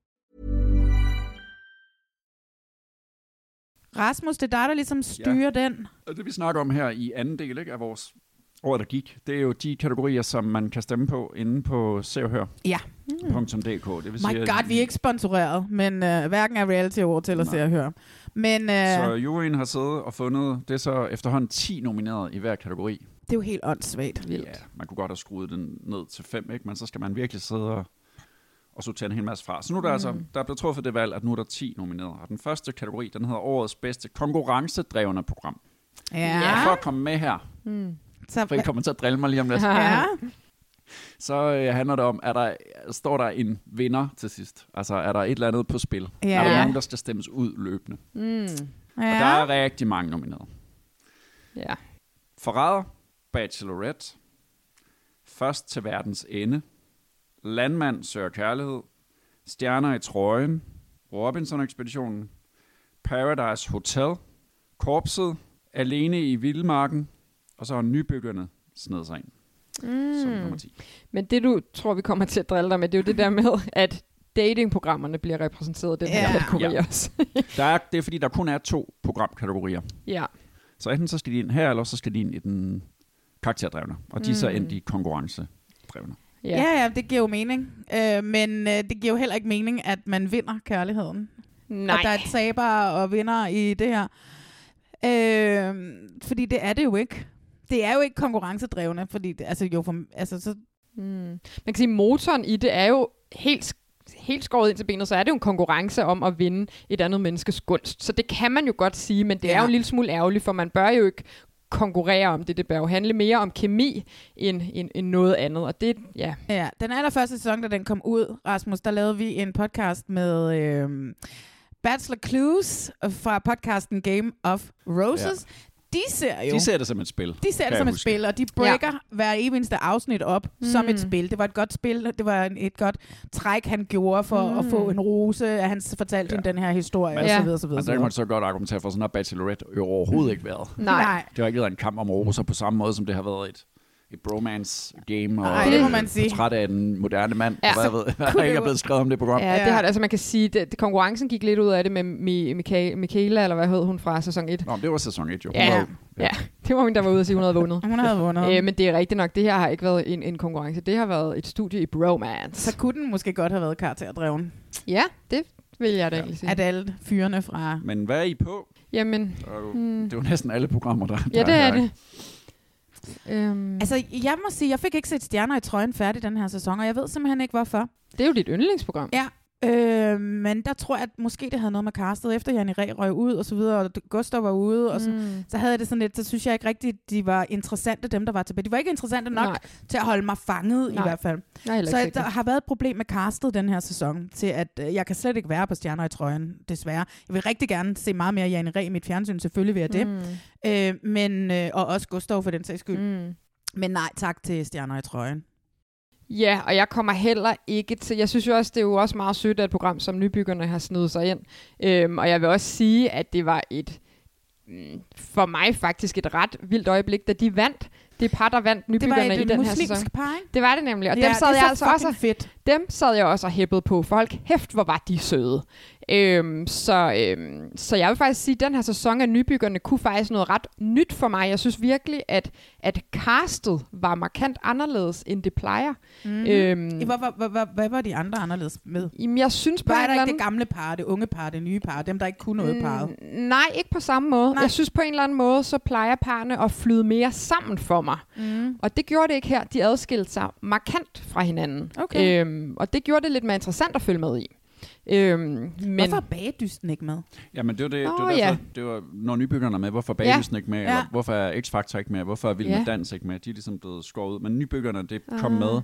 Rasmus, det er dig, der ligesom styrer ja. den.
Og det vi snakker om her i anden del ikke, af vores år, der gik, det er jo de kategorier, som man kan stemme på inde på sevhør.dk.
Ja.
Det vil
My
sige, at
God, vi er ikke sponsoreret, men øh, hverken er Reality Awards eller se og høre. Men øh,
Så juryen har siddet og fundet, det er så efterhånden 10 nomineret i hver kategori.
det er jo helt åndssvagt.
Vildt.
Ja, man kunne godt have skruet den ned til 5, ikke? men så skal man virkelig sidde og, og sortere en hel masse fra. Så nu er
Mhm.
der mm. altså, der er blevet truffet det valg, at nu er der 10 nomineret. Og den første kategori, den hedder årets bedste konkurrencedrevne program.
Ja.
Og for at komme med her,
Så,
for I kommer til at drille mig lige om lidt,
ja.
så øh, handler det om, at der står der en vinder til sidst. Altså, er der et eller andet på spil?
Ja.
Er der nogen, der skal stemmes ud løbende? Og der
Ja.
er rigtig mange nomineret.
Ja.
Forræder, Bachelorette, Først til verdens ende, Landmand søger kærlighed, Stjerner i trøjen, Robinson-ekspeditionen, Paradise Hotel, Korpset, Alene i Vildmarken, og så har nybyggerne snedet sig ind. Mm. Som nummer 10.
Men det, du tror, vi kommer til at drille dig med, det er jo det der med, at datingprogrammerne bliver repræsenteret i den her
Ja.
kategori
Ja.
også.
Der er, det er fordi, der kun er to programkategorier.
ja.
Så enten så skal de ind her, eller så skal de ind i den karakterdrevne. Og de er så
Mm.
endt i konkurrencedrevne.
Ja. ja, ja, det giver jo mening. Øh, men øh, det giver jo heller ikke mening, at man vinder kærligheden.
Nej.
Og der er et taber og vinder i det her. Øh, fordi det er det jo ikke. Det er jo ikke konkurrencedrevne, fordi det, altså, jo, for, altså, så,
Mm. Man kan sige, motoren i det er jo helt, sk- helt skåret ind til benet, så er det jo en konkurrence om at vinde et andet menneskes gunst. Så det kan man jo godt sige, men det ja. er
Ja.
jo en lille smule ærgerligt, for man bør jo ikke konkurrere om det. Det bør jo handle mere om kemi end, end, end noget andet. Og det, ja,
ja. Den allerførste sæson, da den kom ud, Rasmus, der lavede vi en podcast med øh, Bachelor Clues fra podcasten Game of Roses. Ja. De ser jo...
De ser det som et spil.
De ser
kan
det som
jeg
et
huske.
spil, og de breaker ja. hver evig eneste afsnit op mm. som et spil. Det var et godt spil, det var en, et godt træk, han gjorde for mm. at få en rose, at han s- fortalte ja. hende den her historie,
Men-
og så
Ja.
videre, så videre.
Og
Så
Altså, der kan
videre.
man så godt argumentere for, sådan har Bachelorette jo
Mm.
overhovedet ikke været.
nej. nej.
Det har ikke været en kamp om roser på samme måde, som det har været et, et bromance-game.
Ej, det må man sige.
Portræt af en moderne mand,
Ja.
ja. hvad, jeg ved, hvad der ikke er blevet skrevet om det program.
Ja, det
Ja.
har det. Altså man kan sige, det, det, konkurrencen gik lidt ud af det med Mi, Michaela, Michaela, eller hvad hed hun fra sæson 1.
Nå, men det var sæson 1 jo.
Ja.
Hun var jo-
Ja, det var hun, der var ude og sige, hun havde vundet.
Hun havde vundet.
Øh, men det er rigtigt nok, det her har ikke været en, en konkurrence. Det har været et studie i bromance.
så kunne den måske godt have været karakterdreven,
Ja, det vil jeg da egentlig sige.
at alle fyrene fra...
Men hvad er I på?
Jamen,
Der er jo-
hmm,
Det er jo næsten alle programmer, der
ja,
der
det er
her, ikke?
det. Øhm, altså,
Altså, jeg må sige, jeg fik ikke set Stjerner i trøjen færdig den her sæson, og jeg ved simpelthen ikke, hvorfor.
det er jo dit yndlingsprogram.
Ja. Øh, men der tror jeg, at måske det havde noget med castet, efter Janne Ræ røg ud, og så videre, og Gustav var ude, og så,
Mm.
så havde jeg det sådan lidt, så synes jeg ikke rigtigt, de var interessante, dem der var tilbage. De var ikke interessante nok
Nej,
Nej. til at holde mig fanget Nej.
Nej.
i hvert fald.
jeg er heller
Så
ikke
der
sikker.
har været et problem med castet den her sæson, til at øh, jeg kan slet ikke være på Stjerner i trøjen, desværre. Jeg vil rigtig gerne se meget mere Janne Ræ i mit fjernsyn, selvfølgelig vil jeg det. Mm.
Hmm.
Øh, men, øh, og også Gustav for den sags skyld. Mm.
Mm. Mm.
Men nej, tak til Stjerner i trøjen.
Ja, og jeg kommer heller ikke til... Jeg synes jo også, det er jo også meget sødt, at et program som Nybyggerne har snedet sig ind. Øhm, og jeg vil også sige, at det var et mm, for mig faktisk et ret vildt øjeblik, da de vandt. Det par, der vandt
Det var
Nybyggerne
et,
i den
et
her sæson.
muslimsk par, ikke?
Det var det nemlig, og
ja,
dem sad
det er
jeg
så
altså
fucking
også
fedt.
dem sad jeg også og hæppede på. Folk, hæft, hvor var de søde. Øhm, så, øhm, så jeg vil faktisk sige, at den her sæson af Nybyggerne kunne faktisk noget ret nyt for mig. Jeg synes virkelig, at, at castet var markant anderledes, end det plejer.
Mhm.
Mm. Øhm,
Hvad, hvad, hvad, hvad, hvad var de andre anderledes med?
jamen, jeg synes på
Var
en
der
eller
ikke
anden...
det gamle par, det unge par, det nye par, dem der ikke kunne noget parret?
Mm, Nej, ikke på samme måde.
Nej.
Nej. Jeg synes på en eller anden måde, så plejer parrene at flyde mere sammen for mig.
Mhm.
Mm. Og det gjorde det ikke her. De adskilte sig markant fra hinanden.
Okay.
Øhm, og det gjorde det lidt mere interessant at følge med i. Øhm, men,
Men... Hvorfor er bagedysten ikke med?
Jamen, det var det, det, var
Åh,
derfor,
ja.
det var, når nybyggerne er med, hvorfor er Bagelsen ikke med, ja.
Ja.
eller hvorfor er X-Factor ikke med, hvorfor er Vild med
Ja. Ah.
Dans ikke med, de er ligesom blevet skåret ud. Men nybyggerne, det kom med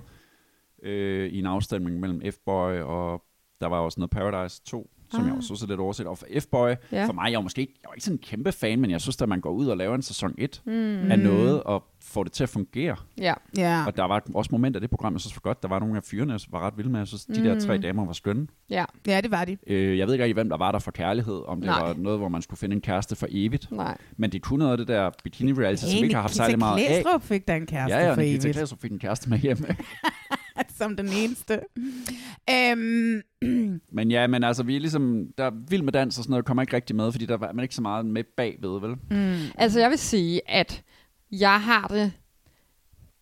øh, i en afstemning mellem F-Boy og, der var også noget Paradise 2, som jeg også synes er lidt overset. Og for F-Boy,
Ah. Ja.
for mig, jeg var måske ikke, jeg var ikke sådan en kæmpe fan, men jeg synes, at man går ud og laver en sæson 1
Hmm.
mm. af noget, og får det til at fungere.
ja.
Ja.
Og der var også momenter af det program, jeg synes var godt. Der var nogle af fyrene, jeg var ret vilde med. Jeg synes, de der tre
Hmm.
damer var skønne.
Ja,
ja, det var de.
Øh, jeg ved ikke rigtig, hvem der var der for kærlighed, om det
Nej.
var noget, hvor man skulle finde en kæreste for evigt.
nej.
Men det kunne noget af det der bikini-reality, Altså, som vi ikke har haft særlig meget af.
Klæstrup fik da en kæreste
Ja, ja,
for
Nikita
evigt.
Klæstrup fik en kæreste med hjem.
Som den eneste. Øhm,
men ja, men altså, vi er ligesom, der er vild med dans og sådan noget, kommer ikke rigtig med, fordi der var man ikke så meget med bagved, vel? Mm.
Altså, jeg vil sige, at jeg har det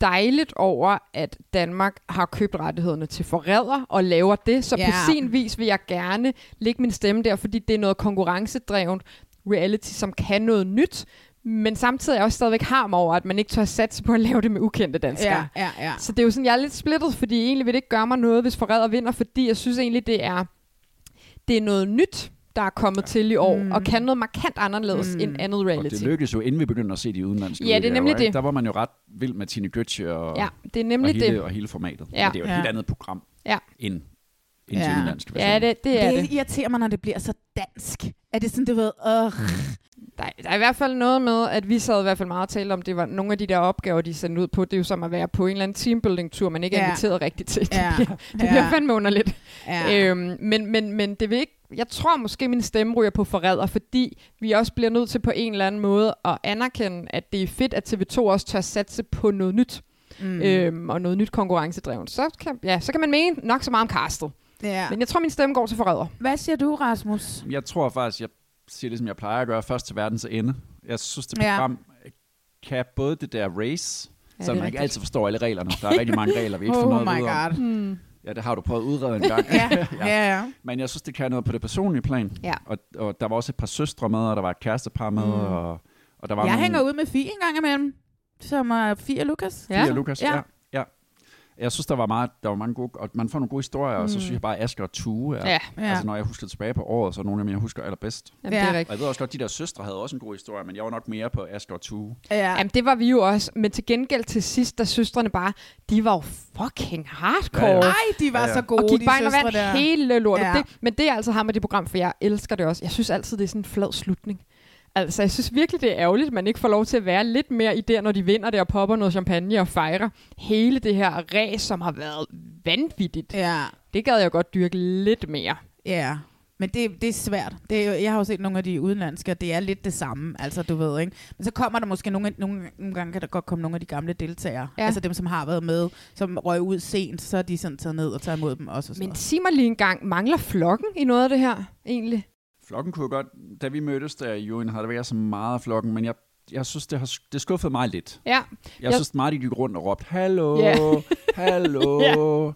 dejligt over, at Danmark har købt rettighederne til forræder og laver det. Så
Ja.
på sin vis vil jeg gerne lægge min stemme der, fordi det er noget konkurrencedrevet reality, som kan noget nyt. Men samtidig er jeg også stadigvæk harm over, at man ikke tør satse på at lave det med ukendte danskere.
ja, ja, ja.
Så det er jo sådan, jeg er lidt splittet, fordi egentlig vil det ikke gøre mig noget, hvis forræder vinder, fordi jeg synes egentlig, det er, det er noget nyt, der er kommet ja. til i år, mm. og kan noget markant anderledes mm. end andet
Og
reality.
det lykkedes jo, inden vi begyndte at se de udenlandske
Ja, det er
udgaver,
nemlig
ikke?
det.
Der var man jo ret vild med Tine Gøtje og,
Ja, det er
og,
nemlig
hele,
det.
og hele formatet.
Ja.
Men det er jo et
Ja.
helt andet program
Ja.
end, end
Ja.
de udenlandske versioner.
Ja, det, det er
Det,
det.
irriterer mig, når det bliver så dansk. Er det sådan, du ved, øh,
Der, er- der er i hvert fald noget med, at vi sad i hvert fald meget og talte om, det var nogle af de der opgaver, de sendte ud på. Det er jo som at være på en eller anden teambuilding-tur, man ikke er
Ja.
inviteret rigtigt til.
Ja.
Det, bliver, det bliver
Ja.
fandme underligt.
Ja.
Øhm, men, men, men det vil ikke, jeg tror måske, min stemme ryger på forræder, fordi vi også bliver nødt til på en eller anden måde at anerkende, at det er fedt, at TV2 også tør satse på noget nyt, mm. øhm, og noget nyt konkurrencedrevet. Så kan, ja, så kan man mene nok så meget om castet.
ja.
Ja. Men jeg tror, min stemme går til forræder.
Hvad siger du, Rasmus?
Jeg tror faktisk, jeg siger det, som jeg plejer at gøre, først til verdens ende. Jeg synes, det
Ja.
program ja. kan både det der race,
Ja,
ja,
det er
som man
rigtigt.
ikke altid forstår alle reglerne. Der er rigtig mange regler, vi ikke får
Oh
noget
my
ud om.
god.
Ja, det har du prøvet at udrede en gang.
Ja, ja, ja.
Men jeg synes, det kan noget på det personlige plan.
Ja.
Og, og der var også et par søstre med, og der var et kærestepar med, mm. og, og der var
Jeg
nogle
hænger ud med Fie en gang imellem, som er Fie og Lukas.
Fie og Lukas.
Ja.
Ja. ja. ja. Jeg synes, der var, meget, der var mange gode, og man får nogle gode historier, mm. og så synes jeg bare, at Asger og Tue er,
Ja.
Ja.
altså når jeg husker tilbage på året, så er nogle af dem, jeg husker allerbedst.
Jamen,
Ja.
ja. det er
Og jeg
rigtigt.
ved også godt, at de der søstre havde også en god historie, men jeg var nok mere på Asger og Tue.
Ja.
Jamen, det var vi jo også. Men til gengæld til sidst, da søstrene bare, de var jo fucking hardcore.
Ja, ja.
Ej, de var
Ja, ja.
så gode,
og gik
de
bare ind og
søstre
vandt
der.
hele lortet. Ja.
Ja.
Det, men det er altså ham med det program, for jeg elsker det også. Jeg synes altid, det er sådan en flad slutning. Altså, jeg synes virkelig, det er ærgerligt, at man ikke får lov til at være lidt mere i det, når de vinder det og popper noget champagne og fejrer hele det her ræs, som har været vanvittigt. Ja.
Ja,
Det gad jeg godt dyrke lidt mere.
ja. Men det, det er svært. Det er, jo- jeg har jo set nogle af de udenlandske, og det er lidt det samme, altså du ved, ikke? Men så kommer der måske nogle, nogle, nogle gange, kan der godt komme nogle af de gamle deltagere,
Ja.
ja. altså dem, som har været med, som røg ud sent, så er de sådan taget ned og tager imod dem også. Og
Men
sådan
sig mig lige en gang, mangler flokken i noget af det her, egentlig?
Flokken kunne jeg godt, da vi mødtes der i juni, havde det været så meget af flokken, men jeg, jeg synes, det, har, det skuffede mig lidt.
Ja,
Jeg
Jo.
synes meget, de gik rundt og råbte, hallo,
Ja.
hallo.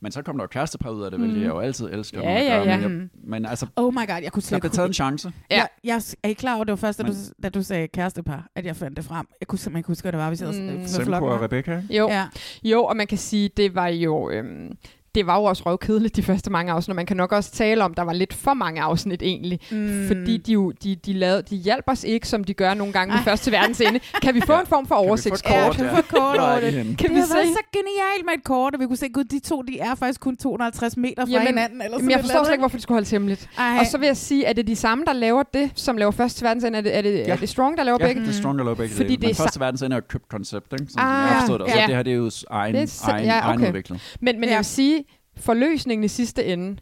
Men så kom der jo kærestepar ud af det, hvilket jeg jo altid elsker.
Mm. Ja,
når man
ja,
gør,
ja.
Men, jeg, men altså,
noget. Mm. Oh my god, jeg kunne
der
slet
blev
ikke...
taget en chance.
Ja.
Ja. Jeg, jeg, er I klar over, det var først, da, du,
Men-
da du sagde kærestepar, at jeg fandt det frem? Jeg kunne simpelthen ikke huske, hvad det var, vi sad
Mm.
mm.
Semko og Rebecca.
jo.
Ja.
Jo, og man kan sige, det var jo... Øhm, det var jo også røvkedeligt, de første mange afsnit, og man kan nok også tale om, der var lidt for mange afsnit egentlig, mm. fordi de, jo, de, de, lavede, de hjalp os ikke, som de gør nogle gange med
Ej.
første verdens ende. Kan vi få en form for oversigtskort?
kort? kan vi få et kort
Hvor er
over
I henne?
Kan
det
vi
har været
se?
så genialt med et kort, og vi kunne se, gud, de to, de er faktisk kun 250 meter fra
Jamen,
hinanden. Eller
Men jeg forstår slet ikke, hvorfor det skulle holdes hemmeligt.
Ej.
Og så vil jeg sige, at det er de samme, der laver det, som laver første til verdens ende. Er det, er det, ja.
Ja.
er det Strong, der laver
Ja,
begge?
det er Strong og Rebecca.
Fordi
Fordi
det er
men første verdensende er et købt koncept, ikke? Sådan,
Ah,
ah, jeg forstod det. Og så
ja.
det her, det er jo s- egen,
Det
det
er
er
så-
egen,
ja,
ja,
okay.
okay. egenudviklet.
Men, men ja.
Ja.
jeg vil sige, forløsningen i sidste ende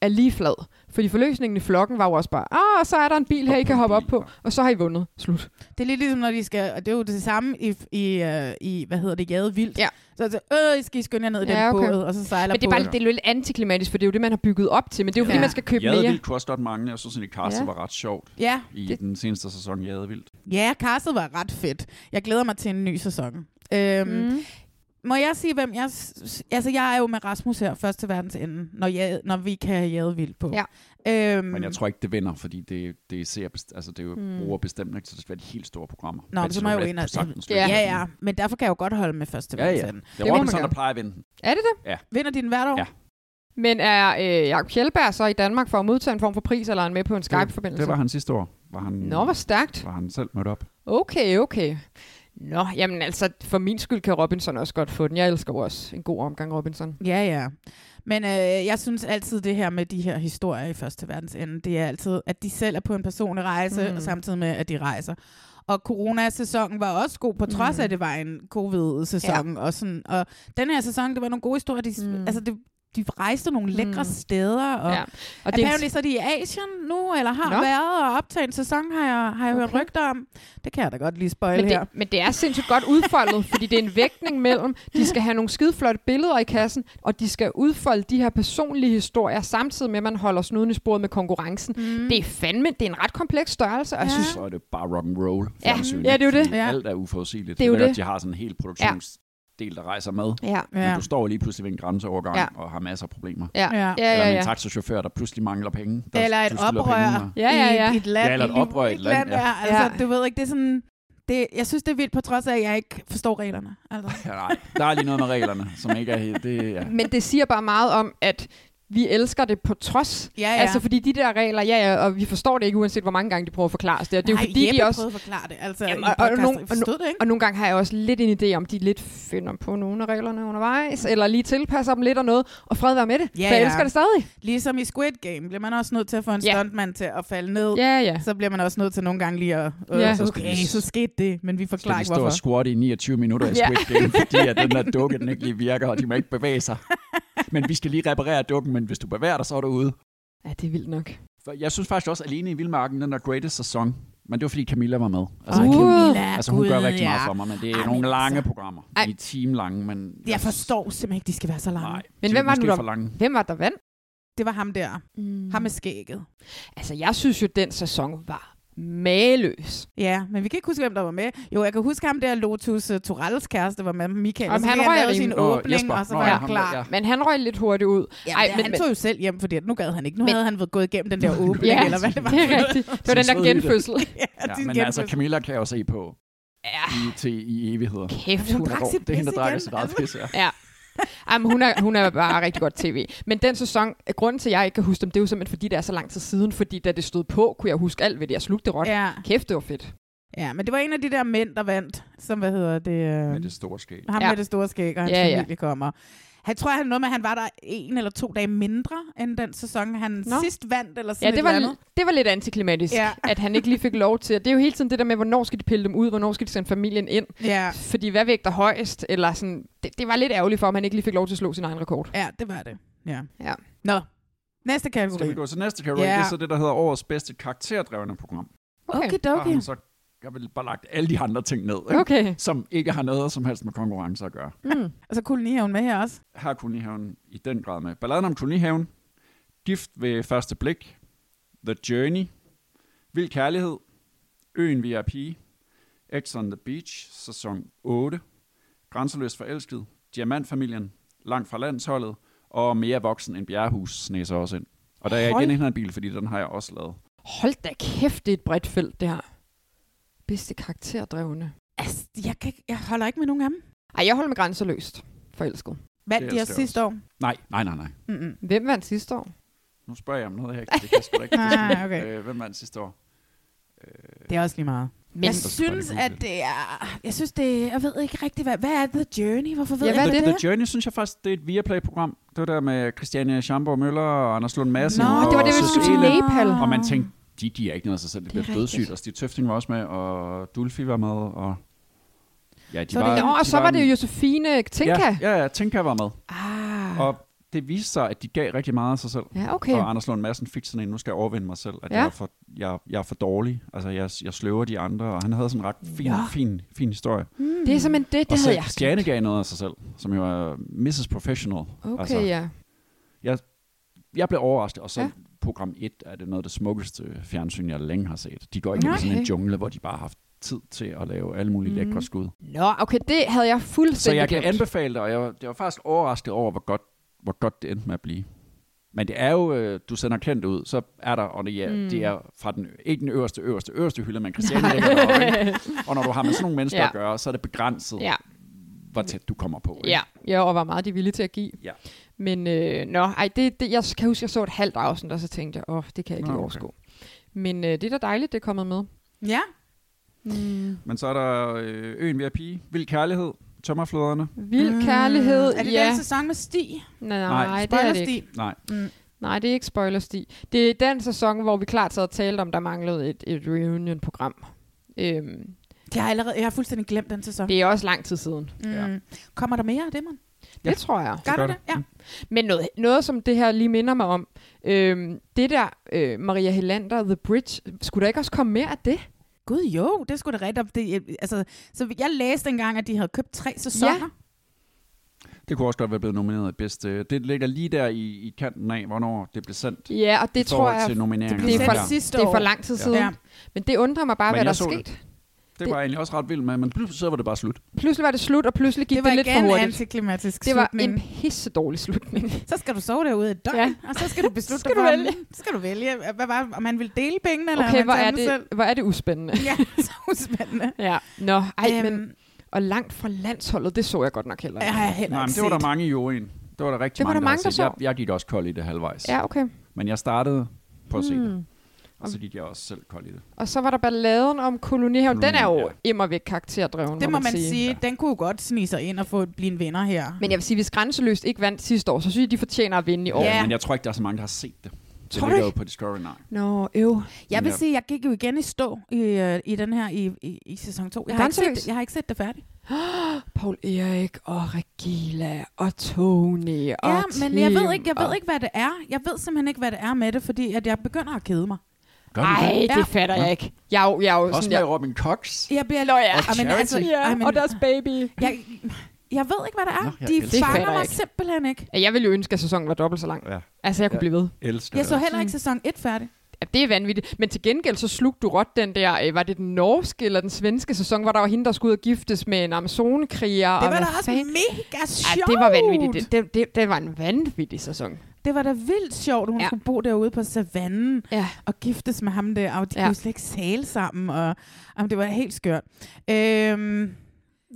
er lige flad. Fordi forløsningen i flokken var jo også bare, ah, så er der en bil her, I kan hoppe op på, og så har I vundet. Slut.
Det er lidt ligesom, når de skal, og det er jo det samme i, i, øh, i hvad hedder det, Jade Vildt.
Ja.
Så, så øh, I skal I skynde jer ned i
Ja,
den
okay.
båd, og så sejler
Men det er bare
båden.
det er jo lidt antiklimatisk, for det er jo det, man har bygget op til. Men det er jo fordi,
Ja.
man skal købe mere.
Jadevildt kunne også godt mangle. Jeg synes, at Castle
Ja.
ja. var ret sjovt
Ja,
i
det-
det. den seneste sæson Jadevildt.
ja, castet var ret fedt. Jeg glæder mig til en ny sæson. Øhm, mm. Må jeg sige, hvem jeg... s- s- Altså, jeg er jo med Rasmus her, først til verdens ende, når, jeg, når vi kan have Jade Vildt på.
Ja.
Øhm,
Men
Mm.
jeg tror ikke, det vinder, fordi det, det, er ser, altså, det er jo mm. brugerbestemt, ikke? så det skal være de helt store programmer.
Nå, men så må jeg jo
Bachelorette
ind og-
kunne sagtens
Ja.
vinde.
Ja, ja, men derfor kan jeg jo godt holde med først til
Ja,
verdens
ja.
ende.
Det
må
er
man
Robinson,
gerne.
der plejer at vinde. den.
Er det det?
Vinder din hvert år?
Ja.
Men er øh, Jacob Kjellberg så i Danmark for at modtage en form for pris, eller er han med på en Skype-forbindelse?
Det var han sidste år. Var han,
Nå, hvor stærkt.
var han selv mødt op.
Okay, okay. Nå, jamen altså, for min skyld kan Robinson også godt få den. Jeg elsker jo også en god omgang Robinson.
Ja, ja. Men øh, jeg synes altid det her med de her historier i første verdens ende, det er altid, at de selv er på en personlig rejse,
Mm.
mm. og samtidig med, at de rejser. Og coronasæsonen var også god, på trods mm. af, at det var en covid-sæson. Ja. Og, sådan. og den her sæson, det var nogle gode historier. De,
Mm.
mm. Altså, det, de rejste nogle lækre
Mm.
mm. steder. Og,
Ja.
ja.
Og
Og
det er
Apparently
en,
så er de i Asien nu, eller har
Nå.
Nå. været og optaget en sæson, har jeg, har jeg okay. hørt
Okay.
rygter om. Det kan jeg da godt lige spoil
men,
her.
det, men det er sindssygt godt udfoldet, fordi det er en vægtning mellem, de skal have nogle skideflotte billeder i kassen, og de skal udfolde de her personlige historier, samtidig med, at man holder snuden i sporet med konkurrencen. Mm. Det er fandme, det er en ret kompleks størrelse, og jeg
Ja.
synes,
så er det bare rock and roll.
Ja,
fjernsyn,
ja, det er jo
ikke?
det.
Fordi
Ja.
Alt er uforudsigeligt.
Det er jo
Jeg ved
det.
godt, De har sådan en hel produktionsdel, der rejser med.
ja.
Ja.
ja.
Men du står lige pludselig ved en grænseovergang
Ja.
ja. og har masser af problemer.
Ja, ja,
Ja.
ja.
Eller
ja,
med
ja.
en taxachauffør, der pludselig mangler penge. Der
Eller et
du skylder
oprør
penge, og-
Ja, ja, ja.
I, i et land.
Ja, eller et
i-
oprør i et land, ja.
Altså,
Ja.
du ved ikke, det er sådan... Det, jeg synes, det er vildt, på trods af, at jeg ikke forstår reglerne. Altså.
Ja, nej, der er lige noget med reglerne, som ikke er helt... Det, ja.
Men det siger bare meget om, at vi elsker det på trods.
Ja, ja.
Altså fordi de der regler, ja, ja, og vi forstår det ikke, uanset hvor mange gange de prøver at forklare os det. Og det er jo fordi,
Jeppe
de også...
prøvede at forklare det, altså
Jamen,
Jamen, i
og- og
podcasten.
nogen-
Jeg forstod det, ikke?
Og nogle gange har jeg også lidt en idé om, de lidt finder på nogle af reglerne undervejs, eller lige tilpasser dem lidt og noget, og fred være med det.
Ja,
for jeg
ja.
elsker det stadig.
Ligesom i Squid Game bliver man også nødt til at få en
Ja.
stuntmand til at falde ned.
Ja, ja.
Så bliver man også nødt til nogle gange lige at, øh,
Ja.
ja.
Så
skal
okay,
vi-
så skete det, men vi
Skal
forklarer
de
ikke
stå
hvorfor.
og squatte i 29 minutter i
Ja.
Squid Game, fordi at den der dukke, den ikke lige virker, og de må ikke bevæge sig. Men vi skal lige reparere dukken, men hvis du bevæger dig, så er du ude.
Ja, det er vildt nok.
For Jeg synes faktisk også, at alene i Vildmarken, den der greatest sæson, men det var fordi Camilla var med.
Altså,
Altså,
Åh,
uh,
Camilla,
Camilla,
altså hun gør
Gud,
rigtig meget
ja.
for mig, men det er
Ej,
nogle
men
lange
altså.
programge.
Ej.
De er time lange, men... altså,
Jeg forstår simpelthen ikke, de skal være så lange.
Nej,
Men
de er
hvem var
måske
det, du-
for lange.
Hvem var der vandt?
Det var ham der.
Mm.
Ham med skægget.
Altså, jeg synes jo, den sæson var mageløs.
Ja, men vi kan ikke huske, hvem der var med. Jo, jeg kan huske ham der, Lotus uh, Torals kæreste, var med Michael.
Jamen,
så
han
fik
røg
lavede
rimelig-
sin
Nå,
åbning,
Jesper.
og så
Nå,
var
ja,
han
ham der,
klar.
ja.
Men han røg lidt hurtigt ud.
Jamen, Ej, men, han tog jo selv hjem, fordi at nu gad han ikke. Nu
Men-
men, havde han været gået igennem den der åbning,
Ja,
eller hvad det var.
det er rigtigt. Det var den
Sådan
der
stod i det.
genfødsel.
Ja,
din Ah.
men
genfødsel.
altså, Camilla kan jeg jo se på
Ja,
i, til, i evigheder.
kæft, hun er
drak
god.
sit
Det er hende, der
pis
drækker
igen,
sit eget
altså.
pis, ja.
Ja. Jamen, hun, er, hun er bare rigtig godt tv. Men den sæson, øh, grunden til, at jeg ikke kan huske dem, det er jo simpelthen, fordi det er så lang tid siden. Fordi da det stod på, kunne jeg huske alt ved det. Jeg slugte det råt.
Ja.
Kæft, det var fedt.
ja, men det var en af de der mænd, der vandt, som, hvad hedder det? Øh,
Med det store skæg.
ham
Ja.
med det store skæg, og hans
Ja, ja.
familie kommer. Han tror, han noget med, at han var der en eller to dage mindre, end den sæson, han
Nå.
sidst vandt, eller sådan
Ja, det var,
et eller andet.
det var lidt antiklimatisk, ja.
Ja.
at han ikke lige fik lov til. Og det er jo hele tiden det der med, hvornår skal de pille dem ud, hvornår skal de sende familien ind.
Ja.
Fordi hvad vægter højest? Eller sådan, det, det var lidt ærgerligt for, at han ikke lige fik lov til at slå sin egen rekord.
ja, det var det. Ja.
Ja.
Nå, næste
Skal vi
kategori.
gå til næste kategori?
Ja.
Det er så det, der hedder årets bedste karakterdrevne program.
Okay.
Okay,
Der har
okay.
han så jeg vil bare lagt alle de andre ting ned, ikke?
Okay.
som ikke har noget som helst med konkurrence at gøre.
Mm.
Og så kolonihaven med her også.
Her er Kolonihaven i den grad med. Balladen om Kolonihaven, Gift ved første blik, The Journey, Vild Kærlighed, Øen VIP, X on the Beach, sæson 8, Grænseløs Forelsket, Diamantfamilien, Langt fra landsholdet, og Mere Voksen end Bjerrehus sneser også ind. Og der er
Hold.
igen en her bil, fordi den har jeg også lavet.
Hold da kæft, det er et bredt felt, det her. Bedste kardrevne.
Altså, jeg, kan, ikke- jeg holder ikke med nogen af dem.
Ej, jeg holder mig grænseløst forelsket.
Vandt
Det
de
er
også
det
sidste år?
Nej, nej, nej, nej.
Mm-mm.
Hvem vandt sidste år?
Nu spørger jeg om noget, jeg ikke det kan jeg sgu da ikke.
Ah, okay.
øh, hvem vandt sidste år? Øh,
Det er også lige meget.
Men,
Jeg
Så skal jeg
synes,
bare lige google
at det er... Jeg synes, det er, Jeg ved ikke rigtig, hvad... Hvad er The Journey? Hvorfor ved
Ja,
jeg
hvad
ikke,
er
The
det?
Journey, synes jeg faktisk, det er et Viaplay-program. Det var der med Christiane Schamborg Møller og Anders Lund Madsen.
Nå,
og
det var det, vi skulle til
Cecilie.
Nepal.
Og man tænkte, de giver ikke noget af sig selv. Det,
Det er
det bliver dødssygt.
rigtigt.
Og Stig Tøfting var også med, og Dulfi var med, og... Ja, de
Så var
var,
det-
Nå, og
de
så var det jo
en-
Josefine Tinka.
Ja, ja, ja, Tinka var med.
Ah.
Og det viste sig, at de gav rigtig meget af sig selv.
ja, okay.
Og Anders Lund Madsen fik sådan en, nu skal jeg overvinde mig selv, at
Ja.
ja. jeg, er for, jeg, jeg er for dårlig. Altså, jeg, jeg sløver de andre, og han havde sådan en ret fin,
Nå.
ja. fin, fin historie.
hmm.
Det er simpelthen det,
og
det
så
havde jeg.
Christiane gav noget af sig selv, som jo er Mrs. Professional.
Okay,
altså,
ja.
jeg blev overrasket, og så
Ja.
ja. program 1 er det noget af det smukkeste fjernsyn, jeg længe har set. De går igennem
Okay.
okay. sådan en jungle, hvor de bare har haft tid til at lave alle mulige
Mhm.
mm. lækre skud.
Nå, okay, det havde jeg
Så
fuldstændig
jeg kan
glemt.
anbefale det, og jeg, var- jeg var faktisk overrasket over, hvor godt, hvor godt det endte med at blive. Men det er jo, øh, du sender kendt ud, så er der, og det er,
Mm.
mm. det er fra den, ikke den øverste, øverste, øverste hylde, men Christiane ligger deroppe. ikke? Og når du har med sådan nogle mennesker
Ja.
ja. at gøre, så er det begrænset, ja.
Ja,
hvor tæt du kommer på. ikke?
ja. Jeg var meget de er villige til at give.
Ja.
Men øh, nå, ej, det, det, jeg kan huske, jeg så et halvt afsnit, og så tænkte jeg, åh, det kan jeg ikke
Nå,
lige
okay.
overskue. Men øh, det er da dejligt, det er kommet med.
Ja.
Mm.
Men så er der øh, Øen ved at pige, Vild Kærlighed, Tømmerfloderne.
Vild kærlighed,
Mm. Øh, Er det
ja.
den sæson med Stig?
Nej, nej,
Nej,
nej, det er det ikke.
Spoiler-Stig?
Nej,
Mm.
Nej, det er ikke spoilersti. Det er den sæson, hvor vi klart sad og talte om, der manglede et, et reunion-program. Øhm,
Jeg har, allerede, jeg har fuldstændig glemt den sæson.
det er også lang tid siden.
Mm.
Ja.
Kommer der mere af det, man?
Ja. Det tror jeg.
Gør
gør Mm.
du det?
det.
Ja.
Men noget, noget, som det her lige minder mig om, øhm, det der øh, Maria Helander, The Bridge, skulle der ikke også komme mere af det?
Gud jo, det skulle da rigtigt. Det, altså, så jeg læste engang, at de havde købt tre sæsoner.
Det kunne også godt være blevet nomineret i bedste. Det ligger lige der i, i kanten af, hvornår det blev sendt.
Ja, og det
i
tror
forhold
jeg,
til nomineringen.
det er for,
sendt sidste
det er for
år.
lang tid
Ja.
siden.
Ja.
Men det undrer mig bare,
Men
hvad der
jeg
er
så
sket.
det. Det var jeg egentlig også ret vild med, men pludselig så var det bare slut.
Pludselig var det slut, og pludselig gik
Det var
det lidt for
igen
hurtigt.
antiklimatisk
Det var
slutning.
en pisse dårlig slutning.
Så skal du sove derude et døgn,
Ja.
ja. og så skal du beslutte
Skal
dig
du
for,
vælge.
Så skal du vælge, hvad var, om man vil dele pengene, eller
Okay,
om
hvor
man tager
er,
dem
det,
selv.
hvor er det uspændende.
Ja, så spændende.
Ja. Nå, ej,
Øhm,
men, og langt fra landsholdet, det så jeg godt nok heller
jeg
ikke.
har jeg heller
Nej, men
ikke
det var
set.
der mange i juryen. Det var der rigtig
Det var
mange,
der mange, der
der havde set. Jeg,
så.
jeg gik også kold i det halvvejs.
Ja, okay.
Men jeg startede på at se det.
Hmm.
Og så gik jeg også selv kold i det.
Og så var der balladen om kolonihaven. Den er jo
Kolonihaven,
immer væk karakterdreven,
Det
må
må man sige. Den kunne jo godt snige sig ind og få, blive en vinder her.
Men jeg vil sige, hvis Grænseløst ikke vandt sidste år, så synes jeg, de fortjener at vinde i år.
Ja.
Men jeg tror ikke, der er så mange, der har set det. Det
Tror du
ligger jo
ikke?
på Discovery Nej.
Nå, øv.
Jeg vil
Ja.
sige, jeg gik jo igen i stå i, øh, i den her i, i, i sæson 2. Jeg har, ikke set,
Grænseløs.
det- jeg har ikke set det færdigt.
Paul Erik og Regila og Tony og
Ja, men jeg ved,
Tim
ikke, jeg ved ikke, hvad det er. Jeg ved simpelthen ikke, hvad det er med det, fordi at jeg begynder at kede mig.
Gør
og-
du
Ej,
det?
det
Ja.
fatter jeg ikke. Jeg er jo, jeg er jo
Også
sådan,
med
jeg,
Robin Cox.
Jeg bliver
Nå ja.
Og
Ej, men
Charity.
altså,
ja,
ej, men,
og deres baby.
jeg, jeg ved ikke, hvad det er.
Nå, jeg elsker
De
det.
fanger
Fatter
mig
ikke.
simpelthen ikke.
Ja, Jeg ville jo ønske, at sæsonen var dobbelt så lang.
Ja,
Altså, jeg kunne
Ja.
blive ved.
elsker
Jeg
det.
så heller ikke sæson 1 færdig.
Ja, det er vanvittigt. Men til gengæld så slugte du råt den der, øh, var det den norske eller den svenske sæson, hvor der var hende, der skulle ud og giftes med en amazonekriger.
Det
og
var
hvad
da også
fanden-
mega
Ja,
sjovt.
det var vanvittigt. Det, det, det, det var en vanvittig sæson.
Det var da vildt sjovt, at hun ja.
Ja.
skulle bo derude på savannen
Ja.
og giftes med ham der, og de ja.
Ja.
kunne slet ikke tale sammen, og jamen, det var helt skørt. Øhm,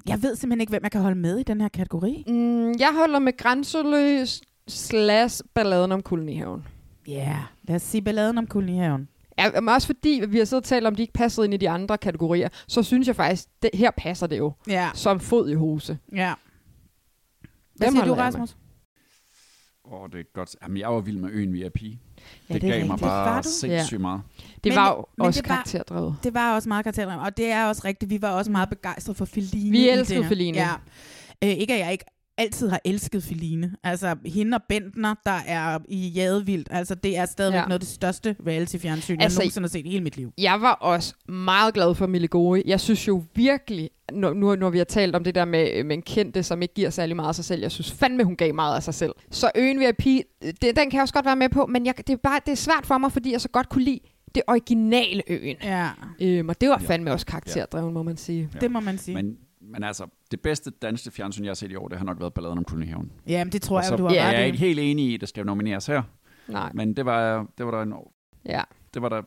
jeg ved simpelthen ikke, hvem jeg kan holde med i den her kategori.
Mm, jeg holder med grænseløs slash balladen om kolonihaven.
Ja, yeah. lad os sige balladen om kolonihaven.
Ja, men også fordi vi har siddet og talt om, at de ikke passede ind i de andre kategorier, så synes jeg faktisk, det, her passer det jo.
Ja,
Som fod i hose.
ja. Hvad
Dem
siger du,
holder jeg med.
Rasmus?
Åh, det er godt. Jamen, jeg var vild med øen VIP. Det,
Ja, det
gav
er
mig
rigtigt.
Var
bare
du?
sindssygt meget.
Det
Men-
var jo
men
også
det var-
karakterdrevet.
Det var også meget karakterdrama, og det er også rigtigt. Vi var også meget begejstrede for Feline.
Vi
i det
elskede
her.
Feline.
Ja. Øh, ikke at jeg ikke altid har elsket Feline. Altså, hende og Bentner, der er i Jadevildt, altså det er stadigvæk ja.
Ja.
noget af det største reality-fjernsyn, altså, jeg
Altså,
nogensinde har set i hele mit liv.
Jeg var også meget glad for Mille Gore. Jeg synes jo virkelig, når, nu, når vi har talt om det der med, med en kendte, som ikke giver særlig meget af sig selv, jeg synes fandme, hun gav meget af sig selv. Så øen VIP, øh, det, den kan jeg også godt være med på, men jeg, det, er bare, det er svært for mig, fordi jeg så godt kunne lide det originale øen.
Ja,
Øhm, og det var
Ja.
fandme også karakterdreven, må man sige.
det må man sige. Men,
Men, men altså, det bedste danske fjernsyn, jeg har set i år, det har nok været balladen om Kolonihaven.
Jamen, det tror
Og
jeg,
så,
du har
jeg er
ret i.
ikke helt enig i, at det skal nomineres her.
Nej,
Men det var, det var der en
ja.
det var der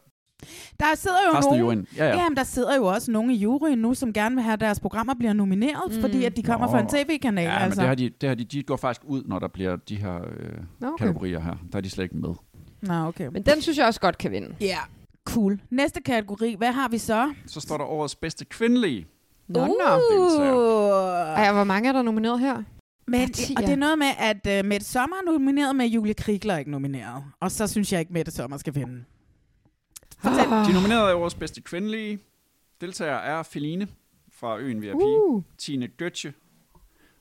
Der sidder jo
resten af
nogen...
juryen. Ja, ja.
Ja. Jamen, der sidder jo også nogen i juryen nu, som gerne vil have, at deres programmer bliver nomineret, mm.
Mm.
fordi at de kommer Nå. fra en
Nå.
tv-kanal.
ja men
altså.
det har de, det har de, de går faktisk ud, når der bliver de her øh,
Nå, okay.
kategorier her. Der er de slet ikke med.
Nå, okay.
Men den synes jeg også godt kan vinde.
Ja, cool. Næste kategori, hvad har vi så?
Så står der årets bedste kvindelige.
Nå,
uh.
nå.
Uh.
Ej, hvor mange er der nomineret her?
Men,
Der er ti,
og
ja.
det er noget med, at uh, Mette Sommer er nomineret, men Julie Krigler er ikke nomineret. Og så synes jeg ikke, Mette Sommer skal vinde. Fortæl.
Ah.
De nominerede i årets bedste kvindelige deltagere er Feline fra Øen VIP, uh.
Uh.
Tine Gøtje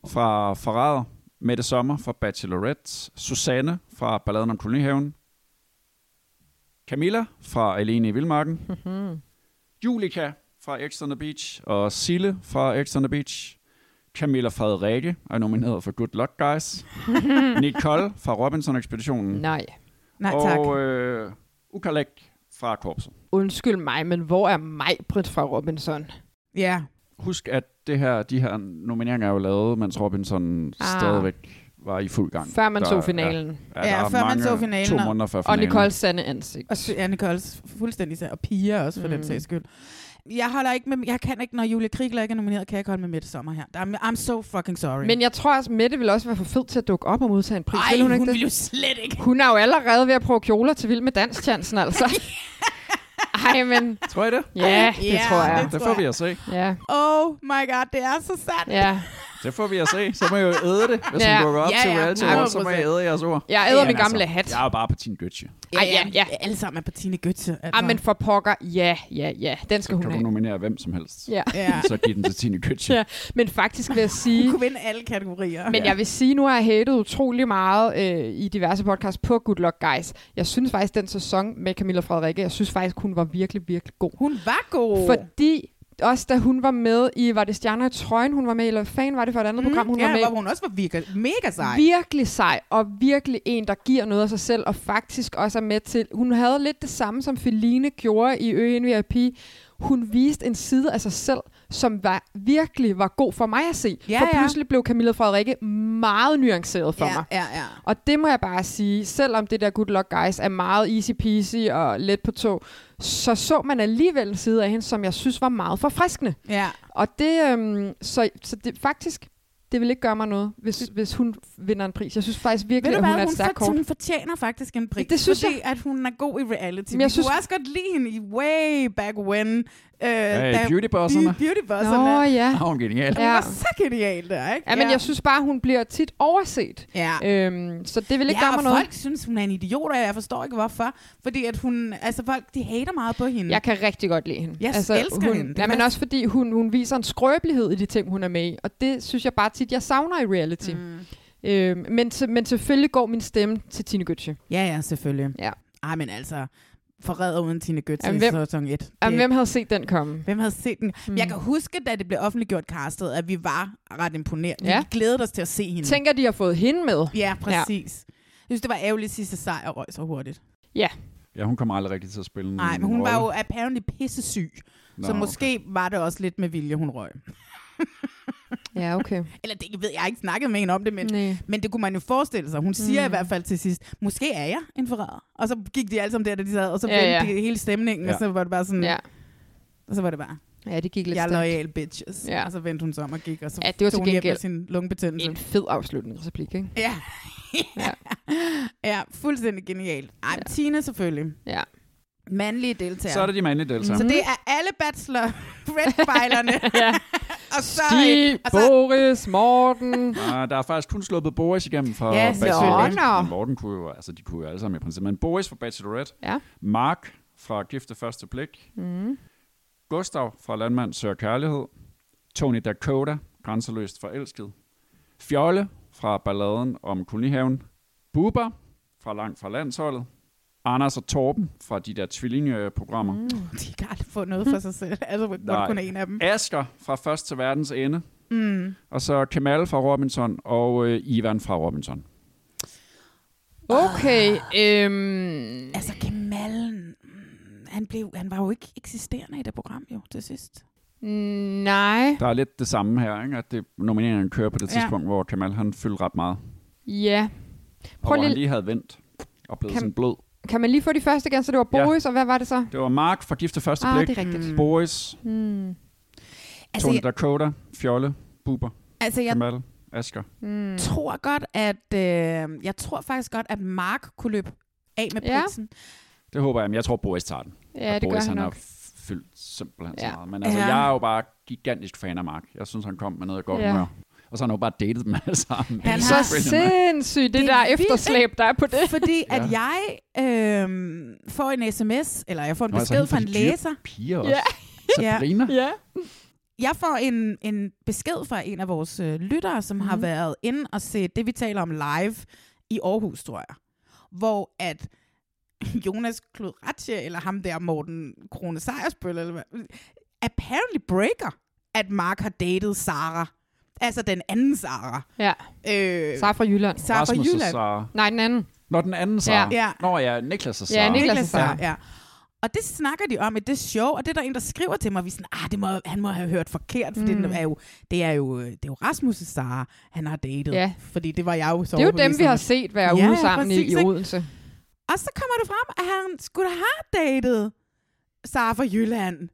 fra Forræder, Mette Sommer fra Bachelorette, Susanne fra Balladen om Kolonihaven, Camilla fra Alene i Vildmarken,
Mhm.
Julika fra X on the Beach og Sille fra X on the Beach. Camilla Frederikke er nomineret for Good Luck Guys. Nicole fra Robinson-ekspeditionen.
Nej.
Nej, tak.
og øh, Ukalek fra Korpset.
Undskyld mig, men hvor er mig, Britt fra Robinson?
Ja.
Husk, at det her, de her nomineringer er jo lavet, mens Robinson ah.
Ah.
stadigvæk var i fuld gang.
Før man
Der-
så finalen.
Ja,
Ja,
der er
før man
mange-
så finalen,
To
og-
måneder før
Og
finalen.
Nicole sande ansigt.
Og Sy- Anne Kolds fuldstændig sag, og Pia også for mm. den
Mm.
sags skyld. Jeg holder ikke med, jeg kan ikke, når Julie Krigler ikke er nomineret, kan jeg ikke holde med Mette Sommer her. I'm, I'm so fucking sorry.
Men jeg tror også, Mette vil også være for fed til at dukke op og modtage en pris.
Ej,
vil
hun,
hun, ikke
hun
det?
vil jo slet ikke.
hun er jo allerede ved at prøve kjoler til Vild med Danstjansen, altså. Ej, men
Tror I det?
ja, det
Ja,
tror
det
jeg.
Det
tror
får
jeg.
vi at se.
Ja,
Oh my god, det er så sandt.
ja.
Det får vi at se. Så må jeg jo æde det, hvis
Ja.
hun dukker op
Ja,
til
ja,
reality, Awards, så må
100%.
jeg æde jeres ord.
Jeg æder min
Men altså,
gamle hat.
Jeg er jo bare på Team Gøtje.
Ej, ja, ja.
Alle sammen er på Tine Gøtze. Altså.
Ah, men for pokker, ja, ja, ja. Den skal
Så
hun
kan du
have.
nominere hvem som helst.
Ja.
Ja.
Så giv den til Tine Køtje.
ja. Men faktisk vil jeg
Hun
sige,
kunne vinde alle kategorier.
Men
Ja.
jeg vil sige, nu har jeg hatet utrolig meget øh, i diverse podcasts på Good Luck Guys. Jeg synes faktisk, den sæson med Camilla Frederikke, jeg synes faktisk, hun var virkelig, virkelig god.
hun var god.
Fordi også da hun var med i, var det Stjerner i Trøjen, hun var med i, eller hvad fanden var det for et andet program, hun
Mm, ja,
var med i?
hvor hun også var virke, mega sej.
Virkelig sej, og virkelig en, der giver noget af sig selv, og faktisk også er med til... Hun havde lidt det samme, som Feline gjorde i Øen VIP. Hun viste en side af sig selv, som var, virkelig var god for mig at se.
Ja,
for
ja.
pludselig blev Camilla Frederikke meget nuanceret for
ja,
mig.
ja, ja.
Og det må jeg bare sige, selvom det der good luck guys er meget easy peasy og let på tog, så så man alligevel en side af hende, som jeg synes var meget forfriskende.
ja.
Og det, øhm, så, så det faktisk, Det vil ikke gøre mig noget, hvis, hvis hun vinder en pris. Jeg synes faktisk virkelig,
Ved du
at hun
hvad,
er et
hun,
stærkt
for,
kort.
hun fortjener faktisk en pris.
Det synes
fordi, at hun er god i reality. jeg
Men jeg
Vi synes...
synes-
kunne også godt lide hende i way back when. Øh,
Hey,
da-
beautybosserne.
Be- beautybosserne.
Nå
Nå,
ja.
Ah, hun er genial.
ja. Det var
Ja.
så genialt der, ikke?
ja. men jeg synes bare, hun bliver tit overset.
Ja.
Øhm, så det vil ikke
ja,
gøre mig
og
noget.
folk synes, hun er en idiot, og jeg forstår ikke, hvorfor. Fordi at hun, altså folk, de hater meget på hende.
Jeg kan rigtig godt lide hende.
Mm.
Altså,
Jeg elsker
hun,
hende. Det
Ja, men
var-
også fordi hun, hun viser en skrøbelighed i de ting, hun er med i. Og det synes jeg bare tit, jeg savner i reality. Mm. Øhm, men, se- men selvfølgelig går min stemme til Tine Gøtje.
Ja, ja, selvfølgelig.
Ja.
Ej, men altså, forræder uden Tine Gøtze
Jamen,
i
hvem-
sæson 1.
Jamen, hvem havde set den komme?
Hvem havde set den? Mm.
Hmm.
Jeg kan huske, da det blev offentliggjort castet, at vi var ret imponeret. Ja.
Ja.
Vi glædede os til at se hende.
Tænker, de har fået hende med.
Ja, præcis. Ja. Jeg synes, det var ærgerligt, at Sisse Sejr røg så hurtigt.
Ja.
Ja, hun kommer aldrig rigtig til at spille en
Nej, men Mm, hun
rolle.
var jo apparently pissesyg.
Nå,
Nå, så måske okay. var det også lidt med vilje, hun røg.
Ja, okay.
Eller det ved jeg jeg har ikke snakket med hende om det, men,
Næ.
men det kunne man jo forestille sig. Hun siger mm. i hvert fald til sidst, måske er jeg en forræder. Og så gik de alle sammen der, da de sad, og så
Ja,
vendte
ja.
de hele stemningen, ja.
Ja.
og så var det bare sådan,
Ja.
ja. og så var det bare,
ja, det gik lidt
Mm. jeg er
stærkt.
loyal bitches.
Ja.
Ja. Og så vendte hun sig om og gik, og så
Ja, det var
tog
til
hun hjem
gengæld
med sin lungebetændelse.
En fed afslutningsreplik, ikke?
Ja.
Ja.
ja, fuldstændig genialt. Ej, ja. Tina selvfølgelig.
Ja.
Mandlige deltagere.
Så er det de mandlige deltagere.
Så det er alle bachelor redfejlerne.
ja.
og så,
Stig,
og så
Boris, Morten.
Ah, der er faktisk kun sluppet Boris igennem for
Ja,
Bachelorette.
nå, nå.
Men Morten kunne jo, altså de kunne jo alle sammen i princippet. Men Boris fra Bachelorette,
Ja.
Mark fra Gift ved første blik, mm. Gustav fra Landmand Sør Kærlighed, Tony Dakota, Grænseløst forelsket, Fjolle fra Balladen om Kolonihaven, Buber fra Langt fra Landsholdet, Anders og Torben fra de der tvillingeprogrammer, mm.
de kan aldrig få noget for sig selv. Altså, hvor
Nej.
det kun er en af dem.
Asker fra Først til Verdens Ende, mm. og så Kemal fra Robinson og øh, Ivan fra Robinson.
Okay.
Ah.
Øhm,
Altså, Kemalen, mm, han, blev, han var jo ikke eksisterende i det program jo, til sidst.
nej.
Der er lidt det samme her, ikke? at det, nomineringerne kører på det
Ja.
tidspunkt, hvor Kamal han fyldte ret meget.
Ja.
Og
Prøv
hvor han
lige,
lige havde vendt og blevet
Kam-
sådan blød.
kan man lige få de første igen, så det var
Ja.
Boris, ja. og hvad var det så?
Det var Mark fra Gift ved første
Ah,
blik.
det er rigtigt.
Boris,
Mm.
Altså,
Tony
jeg,
Dakota, Fjolle, Buber,
altså jeg
Kamal, Asger.
Mm.
tror godt, at... Øh, jeg tror faktisk godt, at Mark kunne løbe af med
Ja.
prisen.
Det håber jeg, men jeg tror Boris tager den.
Ja,
og
det
Boris,
gør han
han
nok.
har fyldt simpelthen
Ja.
så meget. Men altså,
Ja.
jeg er jo bare gigantisk fan af Mark. Jeg synes, han kom med noget godt
Ja.
ja. humør. Og så har han jo bare datet dem alle sammen.
Han
Det er
har-
Så
brilliant, mand.
sindssygt, det,
Det
det
er
der
vildt,
efterslæb, der er på det.
Fordi at jeg øh, får en sms, eller jeg får en
Nå, altså,
besked
hende
fra en
de dyre
læser.
Piger også.
Ja.
Ja.
Sabrina.
Ja.
Jeg får en, en besked fra en af vores øh, lyttere, som mm.
Mhm.
har været inde og set det, vi taler om live i Aarhus, tror jeg. Hvor at Jonas Klod Ratje, eller ham der Morten Krone Sejersbøl, eller hvad, apparently breaker, at Mark har datet Sara. Altså den anden Sara.
ja.
Øh,
Sara fra Jylland.
Sara fra
Rasmus og
Jylland.
Sara.
Nej, den anden.
Nå, den anden Sara.
Ja. Ja.
Nå ja, Niklas og
Ja,
Sara.
Niklas.
Niklas
Sara.
Sara, ja. Og det snakker de om i det show, og det er der en, der skriver til mig, vi er sådan, ah, det må, han må have hørt forkert, for mm. det, er jo, det, er jo, det er jo Rasmus' Sara, han har datet.
Ja.
Fordi det var jeg jo så
Det er jo dem,
overbevist
vi
om,
har
at-
set være
Ja,
ude sammen i,
præcis,
i
ikke?
Odense.
Og så kommer det frem, at han skulle have datet Sara fra Jylland.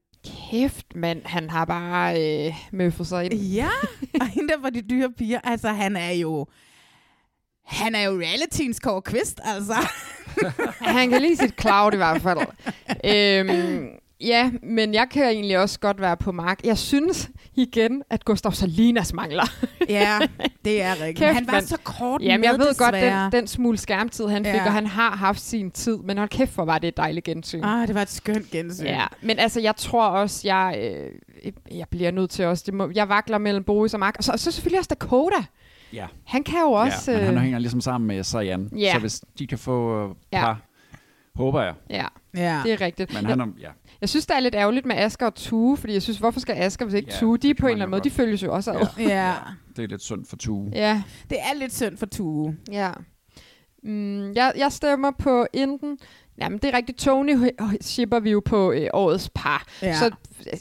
Kæft, mand. Han har bare øh, møffet sig ind.
Ja, og hende der fra de dyre piger, altså han er jo... Han er jo realityens Kåre Kvist, altså.
Han kan lige sit cloud i hvert fald. øhm, ja, men jeg kan egentlig også godt være på mark. Jeg synes igen, at Gustav Salinas mangler.
ja, det er rigtigt.
Kæft,
han var
mand.
så kort
Jamen, jeg
med,
ved godt,
desværre.
den, den smule skærmtid, han fik,
Ja.
ja. og han har haft sin tid. Men hold kæft, hvor var det et dejligt gensyn.
Ah, det var et skønt gensyn.
Ja, men altså, jeg tror også, jeg, øh, jeg bliver nødt til også, det må, jeg vakler mellem Boris og Mark. Og så, og så selvfølgelig også Dakota.
Ja.
Han kan jo også...
ja, men han
øh,
hænger ligesom sammen med Sajan.
Ja.
Så hvis de kan få øh,
Ja.
par, håber jeg.
ja,
ja.
det er rigtigt.
Men
Men
han er, ja.
Jeg synes, det er lidt ærgerligt med Asger og Tue, fordi jeg synes, hvorfor skal Asger, hvis ikke
Ja,
Tue? De er
det
på en
kan man
eller anden
jo
måde, de
godt.
følges jo også ad.
Ja.
Ja,
Det er lidt synd for Tue.
Ja,
det er lidt synd for Tue.
ja. Mm, jeg, jeg stemmer på enten Jamen, det er rigtigt. Tony h- shipper vi jo på øh, årets par.
Ja.
Ja. Så øh,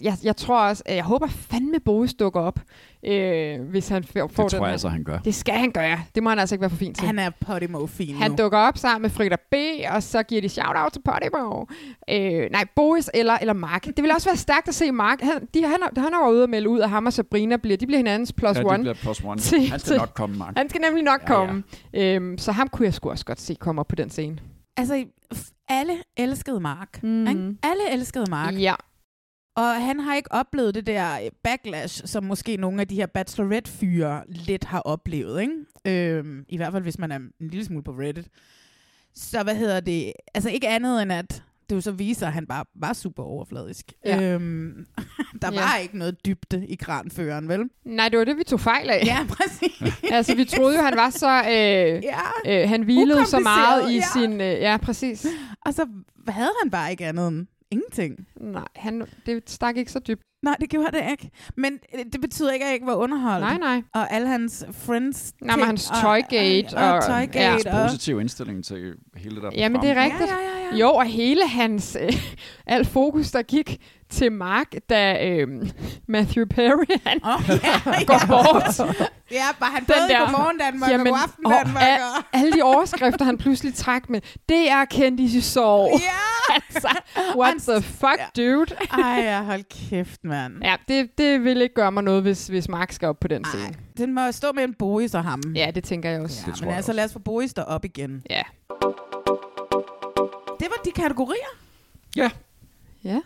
jeg, jeg tror også, jeg håber fandme Boris dukker op, øh, hvis han f- får den
Det tror
her.
jeg altså. så, han gør.
Det skal han gøre. Det må han altså ikke være for fin til.
Han er potty-mo-fin
Han
nu.
dukker op sammen med Frida B, og så giver de shout-out til Podimo. Øh, nej, Boris eller, eller Mark. Det vil også være stærkt at se Mark. Han, de, han, han er jo ude at melde ud, og ham og Sabrina bliver, de bliver hinandens plus
ja,
one.
det bliver plus one.
Til-
Han
til-
skal nok komme, Mark.
Han skal nemlig nok
Ja,
komme. Ja. Øhm, så ham kunne jeg sgu også godt se komme op på den scene.
Altså, f- alle elskede Mark.
Mhm.
Mm. Alle elskede Mark.
Ja.
Og han har ikke oplevet det der øh, backlash, som måske nogle af de her bachelorette-fyre lidt har oplevet, ikke? Øhm, I hvert fald, hvis man er en lille smule på Reddit. Så hvad hedder det? Altså ikke andet end, at det jo så viser, at han bare var super overfladisk.
Ja.
Øhm, der
Ja.
var ikke noget dybde i kranføreren, vel?
Nej, det var det, vi tog fejl af.
Ja, præcis.
altså, vi troede jo, han var så... Øh,
ja.
øh, han hvilede så meget i
Ukompliceret, ja.
sin... Øh, ja, præcis.
Og så Altså, havde han bare ikke andet end ingenting.
Nej, han, det stak ikke så dybt.
Nej, det gjorde det ikke. Men øh, det betyder ikke, at jeg ikke var underholdt.
Nej, nej.
Og alle hans friends
Nej, men
ting,
hans Toygate
og, og, og
og-
Toygate.
Hans
Ja. Og,
positive Altså, indstilling til hele det der
Jamen, det er
program.
ja,
rigtigt.
ja, ja, ja.
Jo, og hele hans... Øh, alt fokus, der gik til Mark, da øh, Matthew Perry, han
Oh, ja, ja.
går bort.
Ja, bare han
Den
både der.
der-
godmorgen Danmark Jamen, og godaften
og
Danmark.
al-
Og,
alle de overskrifter, han pludselig trak med. Det er kendis i sorg.
ja.
altså, what the fuck,
Ja.
dude?
Ej, ja, hold kæft, mand.
Ja, det, det vil ikke gøre mig noget, hvis, hvis Mark skal op på den
Ej,
scene.
den må stå mellem Boris og ham.
Ja, det tænker jeg også.
ja
Det tror
men
jeg
altså,
også.
lad os få Boris derop igen.
Ja.
Det var de kategorier.
Ja,
Ja.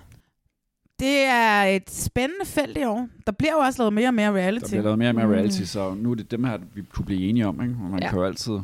Det er et spændende felt i år. Der bliver jo også lavet mere og mere
der
reality.
bliver lavet mere og mere reality, så nu er det dem her, vi kunne blive enige om, ikke? Og man
Mm. Ja.
ja. kan jo altid
Burde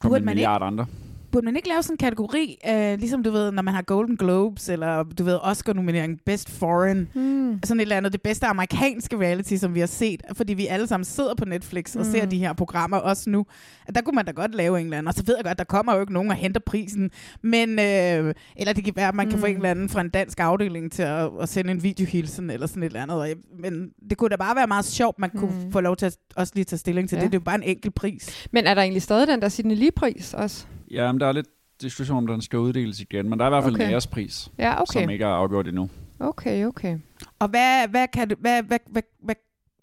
komme med en
man ikke-
milliard andre.
Burde man ikke lave sådan en kategori, øh, ligesom du ved, når man har Golden Globes, eller du ved, Oscar-nominering, Best Foreign,
Mm.
sådan et eller andet, det bedste amerikanske reality, som vi har set, fordi vi alle sammen sidder på Netflix og mm. ser de her programmer også nu. At der kunne man da godt lave en eller anden, og så ved jeg godt, der kommer jo ikke nogen og henter prisen, men, øh, eller det kan være, at man kan få
Mm.
en eller anden fra en dansk afdeling til at, at sende en videohilsen, eller sådan et eller andet. Og jeg- Men det kunne da bare være meget sjovt, man kunne få lov til at også lige tage stilling til ja.
Mm. Ja.
det. Det er jo bare en enkelt pris.
Men er der egentlig stadig den der Sydney Lee-pris også?
Ja, men der er lidt diskussion om, den skal uddeles igen, men der er i hvert fald okay.
Okay.
en ærespris,
Ja,
okay. som
okay.
ikke er afgjort endnu.
Okay, okay.
Og hvad, hvad, kan, det- hvad, hvad, hvad, hvad,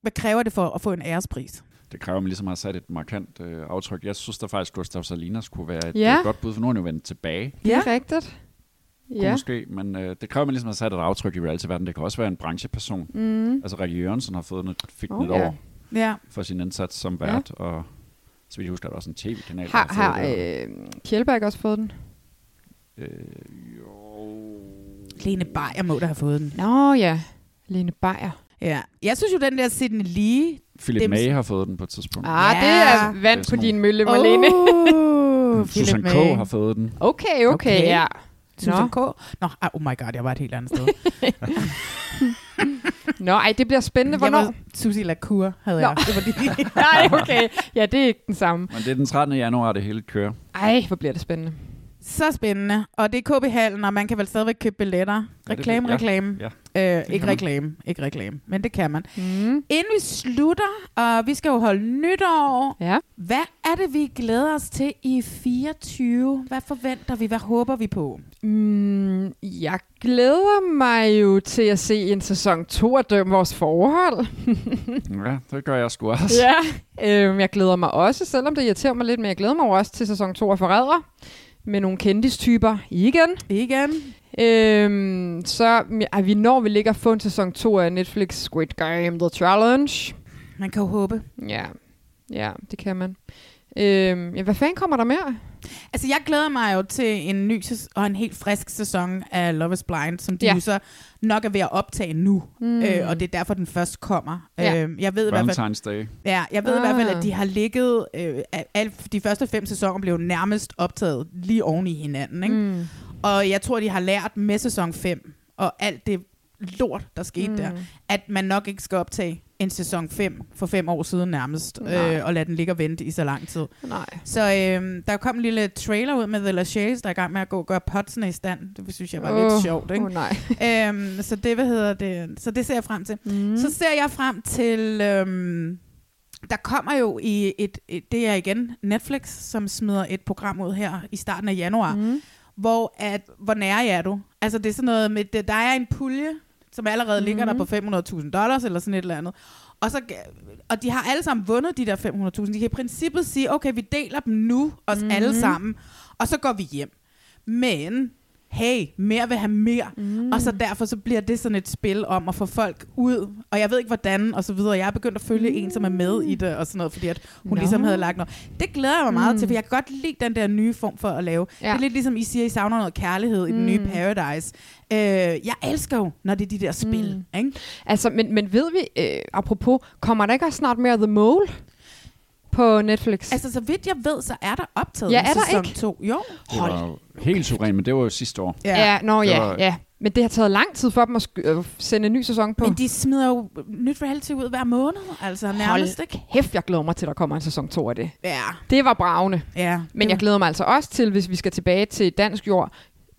hvad kræver det for at få en ærespris?
Det kræver, at man ligesom har sat et markant øh, aftryk. Jeg synes da faktisk, at Gustav Salinas kunne være et,
Ja.
ja. et godt bud, for nu er han jo vendt tilbage.
Det er rigtigt.
Ja.
Ja.
Måske, men øh, det kræver, at man ligesom har sat et aftryk i reality-verdenen. Det kan også være en brancheperson.
Mm.
Altså, Rikke Jørgensen har fået noget, fik
Oh,
oh, et
ja.
år
Ja.
for sin indsats som vært, ja. og så vidt jeg husker, er der også en tv-kanal, der
Har,
har
har
fået det.
øh, Kjellberg også fået den?
Øh, jo.
Lene Beyer må da have fået den.
Nå ja, Lene Beyer.
Ja. Jeg synes jo, den der Sydney Lee...
Philip
Dem-
Dem... May har fået den på et tidspunkt. Ah,
Ah,
Ja.
ja. det er
Det
vand
er
på
sådan
din mølle,
Åh,
Marlene.
Susan
Philip May.
K. har fået den.
Okay, okay,
Okay.
ja.
Susan K. Nå, ah, oh my god, jeg var et helt andet sted.
Nå, ej, det bliver spændende.
jeg
Hvornår?
var Susie Lacour, havde
Nå.
jeg. Det var lige.
Nej, okay. Ja, det er ikke den samme.
Men det er den 13. januar, det hele kører.
Ej, hvor bliver det spændende.
Så spændende. Og det er KB Hallen, og man kan vel stadigvæk købe billetter.
det
Reklame,
bliver- ja.
reklame.
Ja.
Øh,
kan
ikke
man.
reklame, ikke reklame. Men det kan man.
Mm.
Inden vi slutter, og vi skal jo holde nytår.
Ja.
Hvad er det, vi glæder os til i 24? Hvad forventer vi? Hvad håber vi på?
Mm, jeg glæder mig jo til at se en sæson 2 af Døm Vores Forhold.
Ja, det gør jeg sgu også.
Ja. Øhm, jeg glæder mig også, selvom det irriterer mig lidt, men jeg glæder mig jo også til sæson 2 af Forræder. Med nogle kendistyper igen.
Igen.
Øhm, så er vi når vi ligger at få en sæson 2 af Netflix Squid Game The Challenge.
Man kan jo håbe.
Ja, ja det kan man. Øhm, ja, hvad fanden kommer der mere?
Altså, jeg glæder mig jo til en ny sæs- og en helt frisk sæson af Love is Blind, som de ja.
Ja.
jo så nok er ved at optage nu. Mm. Øh, og det er derfor, den først kommer.
Ja.
Øh, jeg ved i hvert fald,
Valentine's Day.
ja, jeg ved i hvert fald, at
Ah.
de har ligget... Øh, at alle, de første fem sæsoner blev nærmest optaget lige oven i hinanden. Ikke? Mm. Og jeg tror, de har lært med sæson 5 og alt det lort, der skete mm. der, at man nok ikke skal optage en sæson 5 for fem år siden nærmest,
Nej.
øh, og lade den ligge og vente i så lang tid.
Nej.
Så øh, der kom en lille trailer ud med The Lachey's, der er i gang med at gå og gøre potsene i stand. Det synes jeg var oh. lidt
Åh,
sjovt, ikke?
Åh, nej.
øhm, så det, hvad hedder det? Så det ser jeg frem til. Mm. Så ser jeg frem til... Øhm, der kommer jo i et, et... Det er igen Netflix, som smider et program ud her i starten af januar, mm. hvor at, hvor nær er du? Altså det er sådan noget med, det- der er en pulje, som allerede ligger der på 500.000 dollars eller sådan et eller andet. Og, så, og de har alle sammen vundet de der 500.000. De kan i princippet sige, okay, vi deler dem nu, os mm-hmm. alle sammen, og så går vi hjem. Men, hey, mere vil have mere. Mm. Og så derfor så bliver det sådan et spil om at få folk ud, og jeg ved ikke hvordan, og så videre. Jeg er begyndt at følge mm. en, som er med i det, og sådan noget, fordi at hun
Nå.
no. ligesom havde lagt noget. Det glæder jeg mig meget til, for jeg kan godt lide den der nye form for at lave.
Ja.
Ja. Det er lidt ligesom I siger, I savner noget kærlighed i den nye Paradise. Øh, jeg elsker jo, når det er de der spil. Mm. Ikke?
Altså, men, men ved vi, øh, apropos, kommer der ikke også snart mere The Mole på Netflix?
Altså, så vidt jeg ved, så er der optaget
Ja,
en
er der
sæson
ikke?
to. Jo.
Det var jo helt suveræn, men det var jo sidste år.
ja. ja, nå
Det
ja,
var-
ja. Men det har taget lang tid for dem at sk- øh, sende en ny sæson på.
Men de smider jo nyt reality ud hver måned, altså nærmest,
Hold
ikke?
kæft, jeg glæder mig til, at der kommer en sæson 2 af det.
Ja,
Det var bravende.
ja.
Men jeg glæder mig altså også til, hvis vi skal tilbage til dansk jord,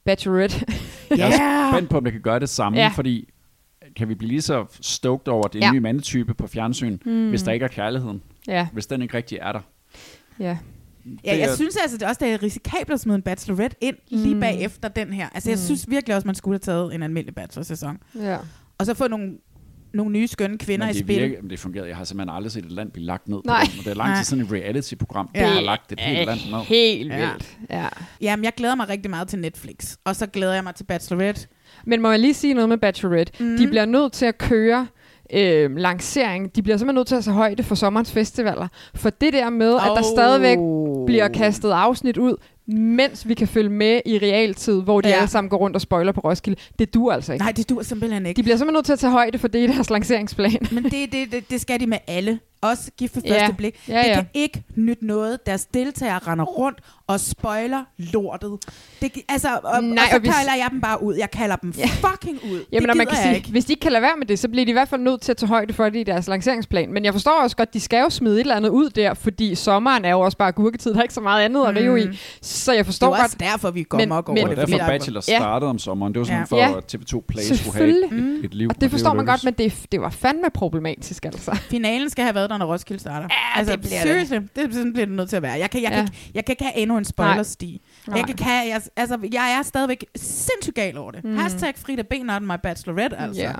Bachelorette.
Jeg er
Ja.
spændt på, om jeg kan gøre det samme,
Ah. Ja.
ja. fordi kan vi blive lige så stoked over den
Ja. Hmm.
ja. nye mandetype på fjernsyn, mm. hvis der ikke er kærligheden,
ja,
hvis den ikke rigtig er der.
ja.
Ja,
Det
jeg
er-
synes altså det er også, det er risikabelt at smide en bachelorette ind lige bagefter den her. Altså, jeg synes virkelig også, man skulle have taget en almindelig bachelorsæson.
ja.
Og så få nogle, nogle nye skønne kvinder
men
i
det,
spil.
virker- men det fungerede. Jeg har simpelthen aldrig set et land blive lagt ned
Nej.
på den. måde. Det er lang
Nej.
tid siden et reality-program,
Ja.
der har
Det
lagt et helt land ned.
Helt
Ja.
vildt. Ja.
Jamen, jeg glæder mig rigtig meget til Netflix. Og så glæder jeg mig til Bachelorette.
Men må jeg lige sige noget med Bachelorette? Mm. De bliver nødt til at køre øh, lancering. De bliver simpelthen nødt til at tage højde for sommerens festivaler. For det der med, oh. at der
Oh.
stadigvæk bliver kastet afsnit ud, mens vi kan følge med i realtid, hvor de ja.
Ja.
alle sammen går rundt og spoiler på Roskilde. Det dur altså ikke.
Nej, det dur simpelthen ikke.
De bliver simpelthen nødt til at tage højde for det i deres lanceringsplan.
Men det, det, det, det skal de med alle. Også gift ved
Ja.
første blik.
Ja, ja.
Det kan ikke nytte noget. Deres deltagere render rundt og spoiler lortet. Det, gi- altså, og, Nej,
Nej,
og så
og hvis-
kalder jeg dem bare ud. Jeg kalder dem ja. fucking ud.
Jamen,
det
og man
gider
kan
jeg
sige,
ikke.
hvis de ikke kan lade være med det, så bliver de i hvert fald nødt til at tage højde for det i deres lanceringsplan. Men jeg forstår også godt, de skal jo smide et eller andet ud der, fordi sommeren er jo også bare gurketid. Der er ikke så meget andet at rive i. Så jeg
Mm. Det er
forstår
jo også
godt,
derfor, vi går
Men-
men, mok over
Det
men-
var
det.
derfor
fordi der er-
Bachelor
Ja.
startede om sommeren. Det var sådan
Ja.
for,
Ja.
at TV2 Play skulle have
Selvfølgelig. Mm.
et, et liv.
Og det forstår man godt,
lykkedes.
men det, det var fandme problematisk, altså.
Finalen skal have været der, når Roskilde starter. Ja, altså,
det bliver det.
seriously, det. det. sådan bliver det nødt til at være. Jeg kan, jeg
Ja.
ja. kan, ikke- jeg kan ikke have endnu en spoilersti.
Nej.
Jeg, kan, ikke have, jeg, altså, jeg er stadigvæk sindssygt gal over det. Mm. Hashtag Frida B. Not my bachelorette, altså.
Ja.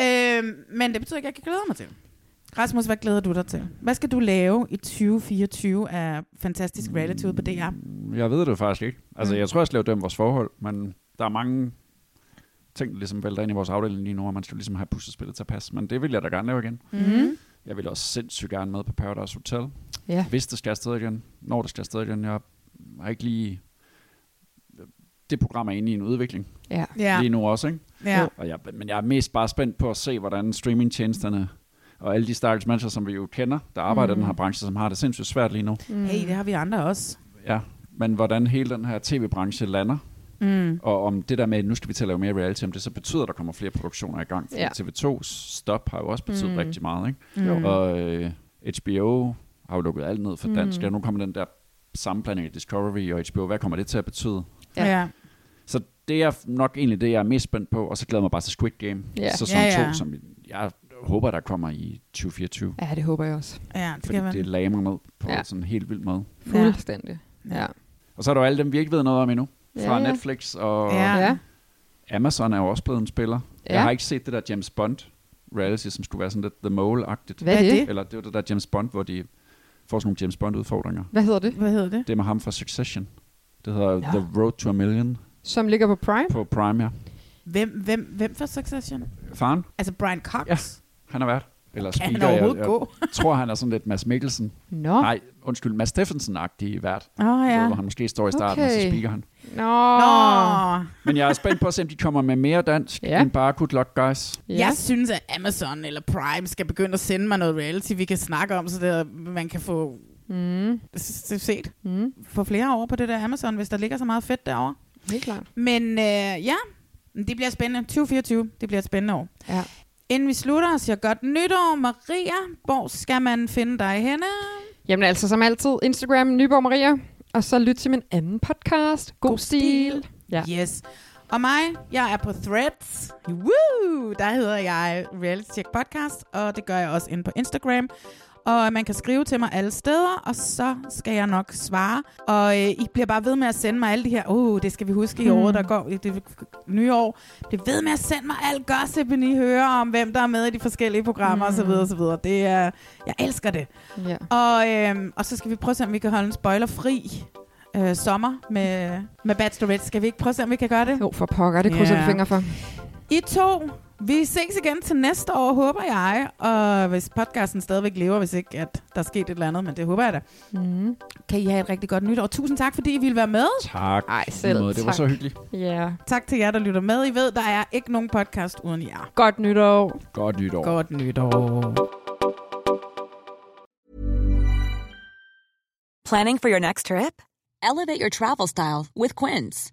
Yeah. Øhm, men det betyder ikke, at jeg kan glæde mig til. det. Rasmus, hvad glæder du dig til? Hvad skal du lave i 2024 af Fantastisk Reality ude på DR?
Jeg ved det jo faktisk ikke.
Mm.
Altså, jeg tror, jeg skal dømme vores forhold, men der er mange ting, der ligesom vælter ind i vores afdeling lige nu, og man skal jo ligesom have puslespillet til at passe. Men det vil jeg da gerne lave igen.
Mm-hmm.
Mm.
Jeg vil også sindssygt gerne med på Paradise Hotel.
Ja.
Hvis det skal afsted igen, når det skal afsted igen. Jeg har ikke lige... Det program er inde i en udvikling
ja.
ja.
Ja,
lige nu også, ikke?
ja.
Og jeg, men jeg er mest bare spændt på at se, hvordan streamingtjenesterne og alle de stakkels mennesker, som vi jo kender, der arbejder mm. i den her branche, som har det sindssygt svært lige nu.
Hey, det har vi andre også.
Ja, men hvordan hele den her tv-branche lander,
Mm.
og om det der med, at nu skal vi til at lave mere reality, om det så betyder, at der kommer flere produktioner i gang. Fordi
Ja.
ja. TV2's stop har jo også betydet
Mm.
mm. rigtig meget, ikke?
Mm.
Og øh, HBO har jo lukket alt ned for dansk,
Mm.
og nu kommer den der sammenblanding af Discovery og HBO. Hvad kommer det til at betyde?
Ja.
Ja. ja.
Så det er nok egentlig det, jeg er mest spændt på, og så glæder jeg mig bare til Squid Game,
Ja.
sæson
Ja, ja.
2, som jeg håber, der kommer i 2024.
ja, det håber jeg også.
Ja, det
Fordi
kan være.
det lamer ned på
Ja.
ja. sådan en helt vild måde.
Fuldstændig. Ja.
Og så er der jo alle dem, vi ikke ved noget om endnu. Fra
Ja, ja.
Netflix og
Ja.
Ja.
Amazon er jo også blevet en spiller.
Ja.
Jeg har ikke set det der James Bond reality, som skulle være sådan lidt The Mole-agtigt.
Hvad er det?
Eller det var det der James Bond, hvor de får sådan nogle James Bond-udfordringer.
Hvad hedder det?
Hvad hedder det?
Det er med ham fra Succession. Det hedder The Road to a Million
Som ligger på Prime?
på Prime, ja.
Hvem, hvem, hvem for Succession?
Faren,
Altså Brian Cox?
Ja. han har været. Eller
Kan han
speaker, jeg-
overhovedet
jeg,
gå?
jeg tror, han er sådan lidt Mads Mikkelsen.
Nå.
Nej, undskyld, Mads Steffensen-agtig vært.
Åh, oh,
Ja.
ja.
Hvor han måske står i starten, okay. og
Okay.
så speaker han.
Nå.
Nå.
Men jeg er spændt på at se, om de kommer med mere dansk
Ja.
ja. end bare good luck, guys.
Ja.
Jeg synes, at Amazon eller Prime skal begynde at sende mig noget reality, vi kan snakke om, så det, man kan få
Mm.
s- s- set
Mm.
for flere år på det der Amazon, hvis der ligger så meget fedt derovre.
Helt klart.
Men øh, ja, det bliver spændende. 2024, det bliver et spændende år.
Ja.
Inden vi slutter, siger godt nytår, Maria. Hvor skal man finde dig henne?
Jamen altså, som altid, Instagram, Nyborg Maria. Og så lyt til min anden podcast. God,
God
stil.
stil.
Ja.
Yes. Og mig, jeg er på Threads. Woo! Der hedder jeg Reality Check Podcast, og det gør jeg også inde på Instagram. og man kan skrive til mig alle steder, og så skal jeg nok svare. Og øh, I bliver bare ved med at sende mig alle de her, åh, oh, det skal vi huske i året, der går i det nye år. Bliv ved med at sende mig alt gossipen, I hører om, hvem der er med i de forskellige programmer mm. osv. osv. Det er, jeg elsker det.
Ja.
Og, øh, og så skal vi prøve at se, om vi kan holde en spoilerfri øh, sommer med, med Bachelorette. Skal vi ikke prøve at se, om vi kan gøre det?
Jo, for pokker, det krydser
Ja.
yeah. vi fingre for.
I to, vi ses igen til næste år, håber jeg. Og hvis podcasten stadigvæk lever, hvis ikke at der er sket et eller andet, men det håber jeg da.
Mm.
Mm-hmm. Kan I have et rigtig godt nytår. Tusind tak, fordi I ville være med.
Tak.
Ej,
på en
selv
måde. Det var
tak.
så hyggeligt.
Ja.
Tak til jer, der lytter med. I ved, der er ikke nogen podcast uden jer.
Godt nytår.
Godt nytår.
Godt nytår.
Planning for your next trip? Elevate your travel style with Quince.